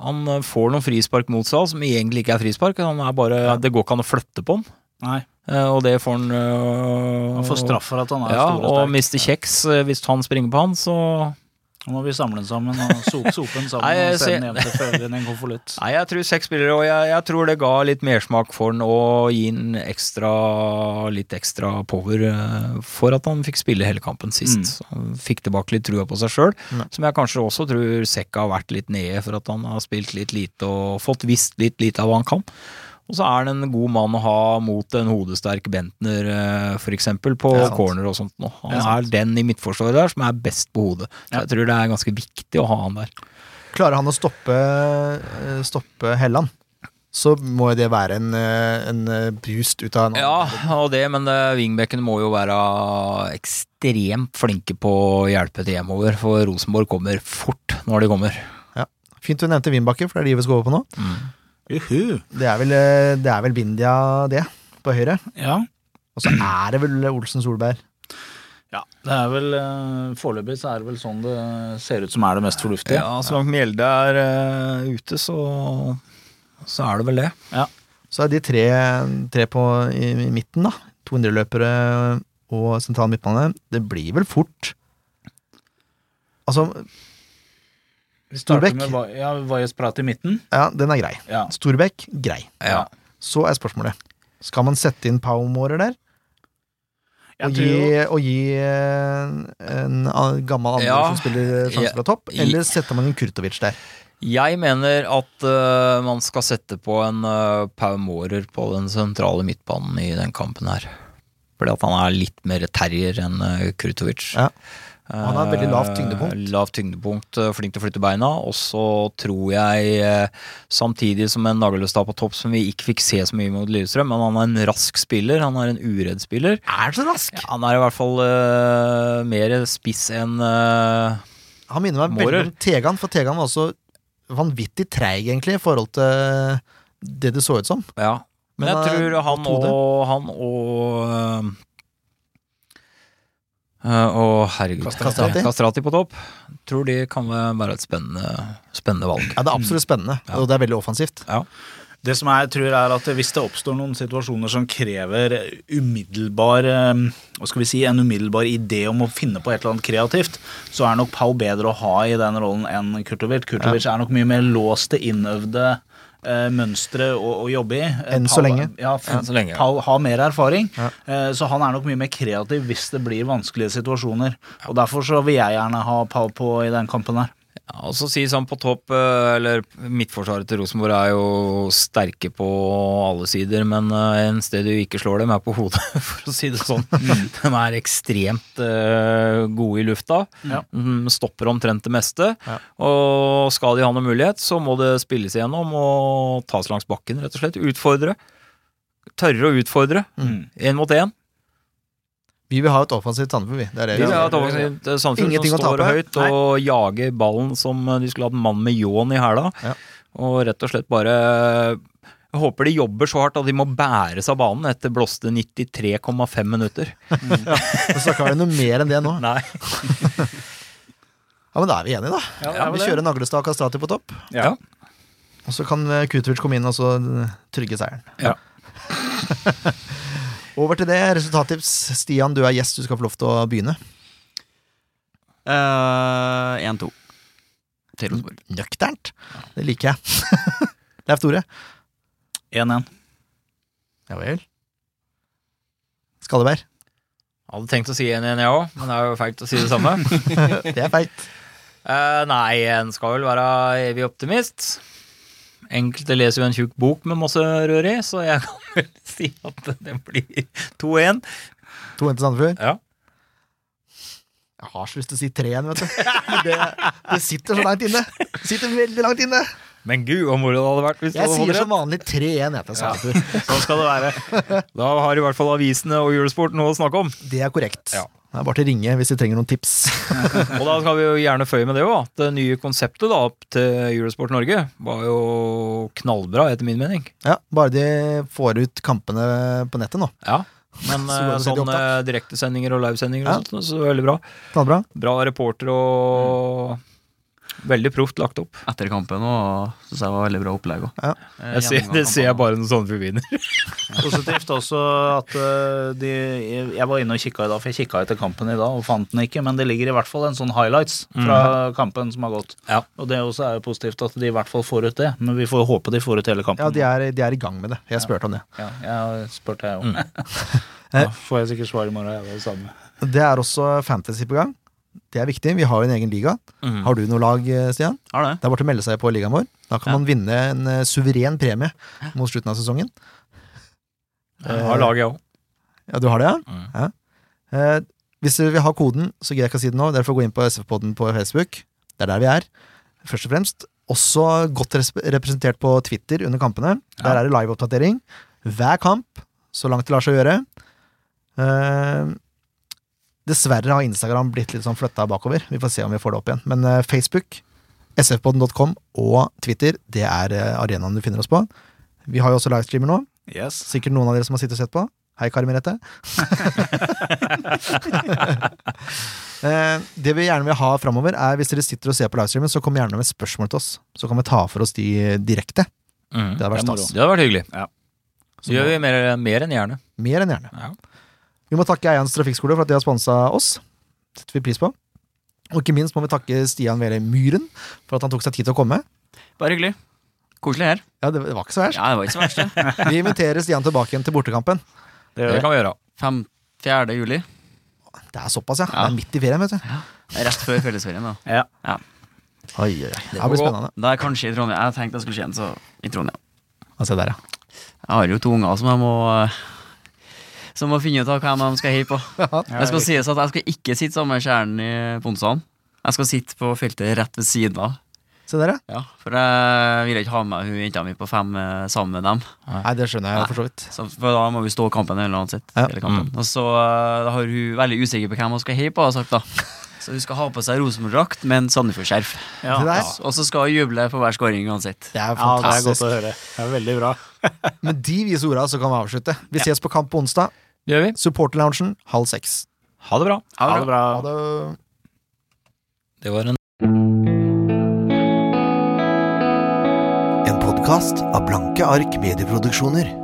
S2: Han eh, får noen frispark mot seg, som egentlig ikke er frispark. Han er bare, Det går ikke an å flytte på han,
S5: Nei,
S2: eh, og det får han øh,
S5: han får straff for at han er
S2: Ja,
S5: stor
S2: og
S5: og sterk.
S2: mister kjeks eh, hvis han springer på han, så
S5: Nå må vi samle den sammen og sope sopen sammen
S2: Nei, jeg
S5: og sende den hjem
S2: ser-
S5: til foreldrene i en konvolutt.
S2: Nei, jeg tror seks spillere, og jeg, jeg tror det ga litt mersmak for han og gi han ekstra, litt ekstra power eh, for at han fikk spille hele kampen sist.
S5: Mm.
S2: Så Han fikk tilbake litt trua på seg sjøl, som jeg kanskje også tror Sekka har vært litt nede for at han har spilt litt lite og fått visst litt lite av hva han kan. Og så er han en god mann å ha mot en hodesterk Bentner, eh, for eksempel, på
S3: Det er sant.
S2: corner og sånt nå. Han
S5: Det er
S2: er, den i midtforsvaret der som er best på hodet. Så jeg tror det er ganske viktig å ha han der.
S3: Klarer han å stoppe, eh, stoppe Helland, så må jo det være en, eh, en eh, boost ut av en
S2: Ja, og det, men eh, wingbackene må jo være ekstremt flinke på å hjelpe til hjemover, for Rosenborg kommer fort når de kommer.
S3: Fint du nevnte Vindbakke, for det er de vi skal over på nå.
S5: Juhu.
S3: Det er vel, eh, det er vel Bindia, det, på høyre.
S5: Ja.
S3: Og så er det vel Olsen Solberg.
S5: ja. Det er vel eh, Foreløpig så er det vel sånn det ser ut som er det mest fornuftige.
S2: Ja, så langt Mjelde er eh, ute, så, så er det vel det.
S3: Så er de tre, tre på i, i midten, da. 200-løpere og sentral midtbane. Det blir vel fort Altså,
S5: Vi starter
S3: Storbekk.
S5: med Va- ja, Vajas prat i midten.
S3: ja, den er grei.
S5: Ja.
S3: Storbekk, grei.
S2: Ja.
S3: Så er spørsmålet Skal man sette inn Paumårer der?
S5: Jeg
S3: Og
S5: tror
S3: gi,
S5: jo-
S3: og gi eh, en an- gammel andre
S2: Ja.
S3: som spiller sjanse fra topp?
S2: Ja.
S3: Eller setter man en Kurtovic der?
S2: Jeg mener at eh, man skal sette på en uh, Pau Mårer på den sentrale midtbanen i den kampen her. Fordi at han er litt mer terrier enn eh, Krutovic.
S3: Ja. Han har veldig lavt tyngdepunkt.
S2: Eh, lavt tyngdepunkt, eh, flink til å flytte beina. Og så tror jeg, eh, samtidig som en Nageløstad på topp som vi ikke fikk se så mye mot Lillestrøm, men han er en rask spiller, han er en uredd spiller.
S3: Er så rask!
S2: Ja, han er i hvert fall eh, mer spiss enn eh,
S3: Han minner meg veldig om Tegan, for Tegan var også vanvittig treig, egentlig, i forhold til det det så ut som.
S2: Ja.
S3: Men
S2: Men, jeg
S3: det er
S2: tror han
S3: godt hode.
S2: og Han og øh, og herregud
S3: Kastrati.
S2: Kastrati. Kastrati på topp. Tror de kan være et spennende, spennende valg.
S3: Ja, det er absolutt spennende, og det er veldig offensivt.
S5: Det som jeg tror er at hvis det oppstår noen situasjoner som krever umiddelbar eh, Hva skal vi si, en umiddelbar idé om å finne på et eller annet kreativt, så er nok Pau bedre å ha i den rollen enn Kurtovic. Kurtovic er nok mye mer låst til innøvde eh, mønstre å, å jobbe i. Eh,
S3: Enn så
S5: Pau-
S3: lenge.
S5: Ja,
S2: Enn så lenge, ja.
S5: Pau har mer erfaring,
S3: Ja.
S5: eh, så han er nok mye mer kreativ hvis det blir vanskelige situasjoner. Og Derfor så vil jeg gjerne ha Pau på i den kampen her.
S2: Ja, og så sies han på topp, øh, eller midtforsvaret til Rosenborg er jo sterke på alle sider, men øh, en sted du ikke slår dem, er på hodet, for å si det sånn. De er ekstremt øh, gode i lufta.
S5: Ja.
S2: De stopper omtrent det meste.
S3: Ja.
S2: Og skal de ha noen mulighet, så må det spilles igjennom og tas langs bakken, rett og slett. Utfordre. Tørre å utfordre.
S5: Mm.
S2: Én mot én.
S3: Vi vil ha et offensivt Sandefjord, vi. Det er det
S2: Vi
S3: vi
S2: vil ha
S3: har.
S2: et offensivt eh, Sandefjord
S3: Ingenting å
S2: som står
S3: tape.
S2: høyt og jager ballen som eh, de skulle hatt en mann med ljåen i hæla.
S3: Ja.
S2: Og rett og slett bare jeg håper de jobber så hardt at de må bæres av banen etter blåste 93,5 minutter.
S3: Så snakker vi noe mer enn det nå.
S2: Nei.
S3: Ja, Men da er vi enige, da.
S5: Ja, det er vel
S3: vi
S5: det.
S3: kjører Naglestad og Kastrati på topp.
S5: Ja.
S3: Og så kan eh, Kutovic komme inn og så eh, trygge seieren.
S5: Ja.
S3: Over til det. Resultattips. Stian, du er gjest, du skal få lov til å begynne.
S4: 1-2 til Rosenborg.
S3: Nøkternt. Det liker jeg. Leif Tore.
S5: 1-1.
S3: Ja vel. Skalleberg.
S2: Jeg hadde tenkt å si 1-1, jeg òg, men det er jo feigt å si det samme.
S3: Det er feigt.
S2: Eh, nei, en skal vel være evig optimist. Enkelte leser jo en tjukk bok med masse rør i, så jeg kan vel si at det blir 2-1.
S3: To til Sandefjord.
S2: Ja.
S3: Jeg har så lyst til å si tre igjen, vet du. Men Det, det sitter så langt inne. Det sitter veldig langt inne.
S2: Men gud, hvor moro det hadde vært hvis du
S3: Jeg
S2: hadde fått
S3: sier
S2: rett.
S3: som vanlig tre igjen jeg, til Sandefjord.
S5: Sånn skal det være.
S2: Da har i hvert fall avisene og julesport noe å snakke om.
S3: Det er korrekt.
S2: Ja.
S3: Det er bare til å ringe hvis de trenger noen tips.
S2: Og da skal vi jo gjerne føye med det òg, at det nye konseptet da opp til Julesport Norge var jo knallbra, etter min mening.
S3: Ja, Bare de får ut kampene på nettet nå.
S2: Ja. Men
S3: Så går det
S2: eh,
S3: til
S2: sånn eh,
S3: opptak.
S2: direktesendinger og livesendinger
S3: Ja.
S2: og sånt, så er det veldig bra.
S3: Knallbra.
S2: Bra reporter og Veldig proft lagt opp.
S4: etter kampen, og syns jeg var veldig bra opplegg Eh, òg.
S12: Ja.
S2: Jeg ser, det ser jeg bare når Sandefjord vinner.
S5: Positivt også at eh, de Jeg var inne og kikka i dag, for jeg kikka etter kampen i dag og fant den ikke, men det ligger i hvert fall en sånn highlights fra kampen som har gått.
S2: Mhm. Ja.
S5: Og det også er jo positivt at de i hvert fall får ut det, men vi får jo håpe de får ut hele kampen.
S3: Ja, de er, de er i gang med det. Jeg spurte om det.
S5: Ja, jeg spurte jeg
S2: Mm.
S5: om. Da får jeg sikkert svar i morgen, jeg er det samme.
S3: Det er også fantasy på gang. Det er viktig. Vi har jo en egen liga. Har du noe lag, eh, Stian?
S4: Har det.
S3: Det er bare til å melde seg på ligaen vår. Da kan man vinne en eh, suveren premie mot slutten av sesongen.
S2: Jeg har laget jeg òg.
S3: Ja, du har det, ja? ja. Eh, hvis dere vil ha koden, så gidder jeg ikke å si det nå. Dere får gå inn på SF-podden på Facebook. Det er der vi er, først og fremst. Også godt resp- representert på Twitter under kampene. Der er det liveoppdatering. Hver kamp, så langt det lar seg gjøre. Eh, dessverre har Instagram blitt litt sånn flytta bakover. Vi får se om vi får det opp igjen. Men eh, Facebook, sfpodden.com og Twitter, det er eh, arenaen du finner oss på. Vi har jo også livestreamer nå.
S5: Yes.
S3: Sikkert noen av dere som har sittet og sett på. Hei, Kari Merete. Eh, det vi gjerne vil ha framover, er hvis dere sitter og ser på livestreamen, så kom gjerne med spørsmål til oss. Så kan vi ta for oss de direkte. Det hadde vært
S5: Det er moro.
S3: stas.
S2: Mm. Det hadde vært hyggelig.
S5: Ja.
S2: Så gjør vi mer, mer enn gjerne.
S3: Mer enn gjerne.
S2: Ja.
S3: Vi må takke Eians Trafikkskole for at de har sponsa oss. Det setter vi pris på. Og ikke minst må vi takke Stian Vele Myhren for at han tok seg tid til å komme.
S4: Bare hyggelig. Koselig her.
S3: Ja, det var ikke så verst.
S4: Ja, det var ikke så verst, det.
S3: Vi inviterer Stian tilbake igjen til bortekampen.
S2: Det kan vi gjøre.
S4: Fem- 4. juli.
S3: Det er såpass, ja.
S4: Ja.
S3: Det er midt i ferien, vet du.
S4: Rett før fellesferien, da.
S3: Oi, oi, oi. Det blir
S2: gå.
S3: spennende.
S4: Da er jeg kanskje i Trondheim. Jeg tenkte jeg skulle skje en, så i Trondheim.
S3: Altså, der, ja.
S4: Jeg har jo to unger som jeg må eh, Som må finne ut av hvem de skal heie på. Det skal sies at jeg skal ikke sitte sammen med kjernen i Ponsan. Jeg skal sitte på feltet rett ved siden av.
S3: Se der, ja.
S4: Ja, For jeg vil ikke ha med hun jenta mi på fem eh, sammen med dem.
S3: Nei, det skjønner jeg for så vidt.
S4: Så, for da må vi stå kampen eller annet sitt.
S3: Ja.
S4: Hele kampen. Og så eh, da har hun veldig usikker på hvem hun skal heie på, har hun sagt da. Så hun skal ha på seg Rosenborg-drakt med en Sandefjord-skjerf.
S3: Det der,
S4: Og så skal hun juble for hver skåring uansett.
S3: Det er
S5: Ja, det er
S3: fantastisk.
S5: godt å høre. Det er veldig bra.
S3: Med de vise orda så kan vi avslutte. Vi ses på kamp på onsdag.
S2: Det gjør vi.
S3: Supporterloungen halv seks.
S2: Ha det bra.
S4: Ha det bra.
S5: bra.
S3: Ha det.
S2: Det var en
S12: En podkast av Blanke ark medieproduksjoner.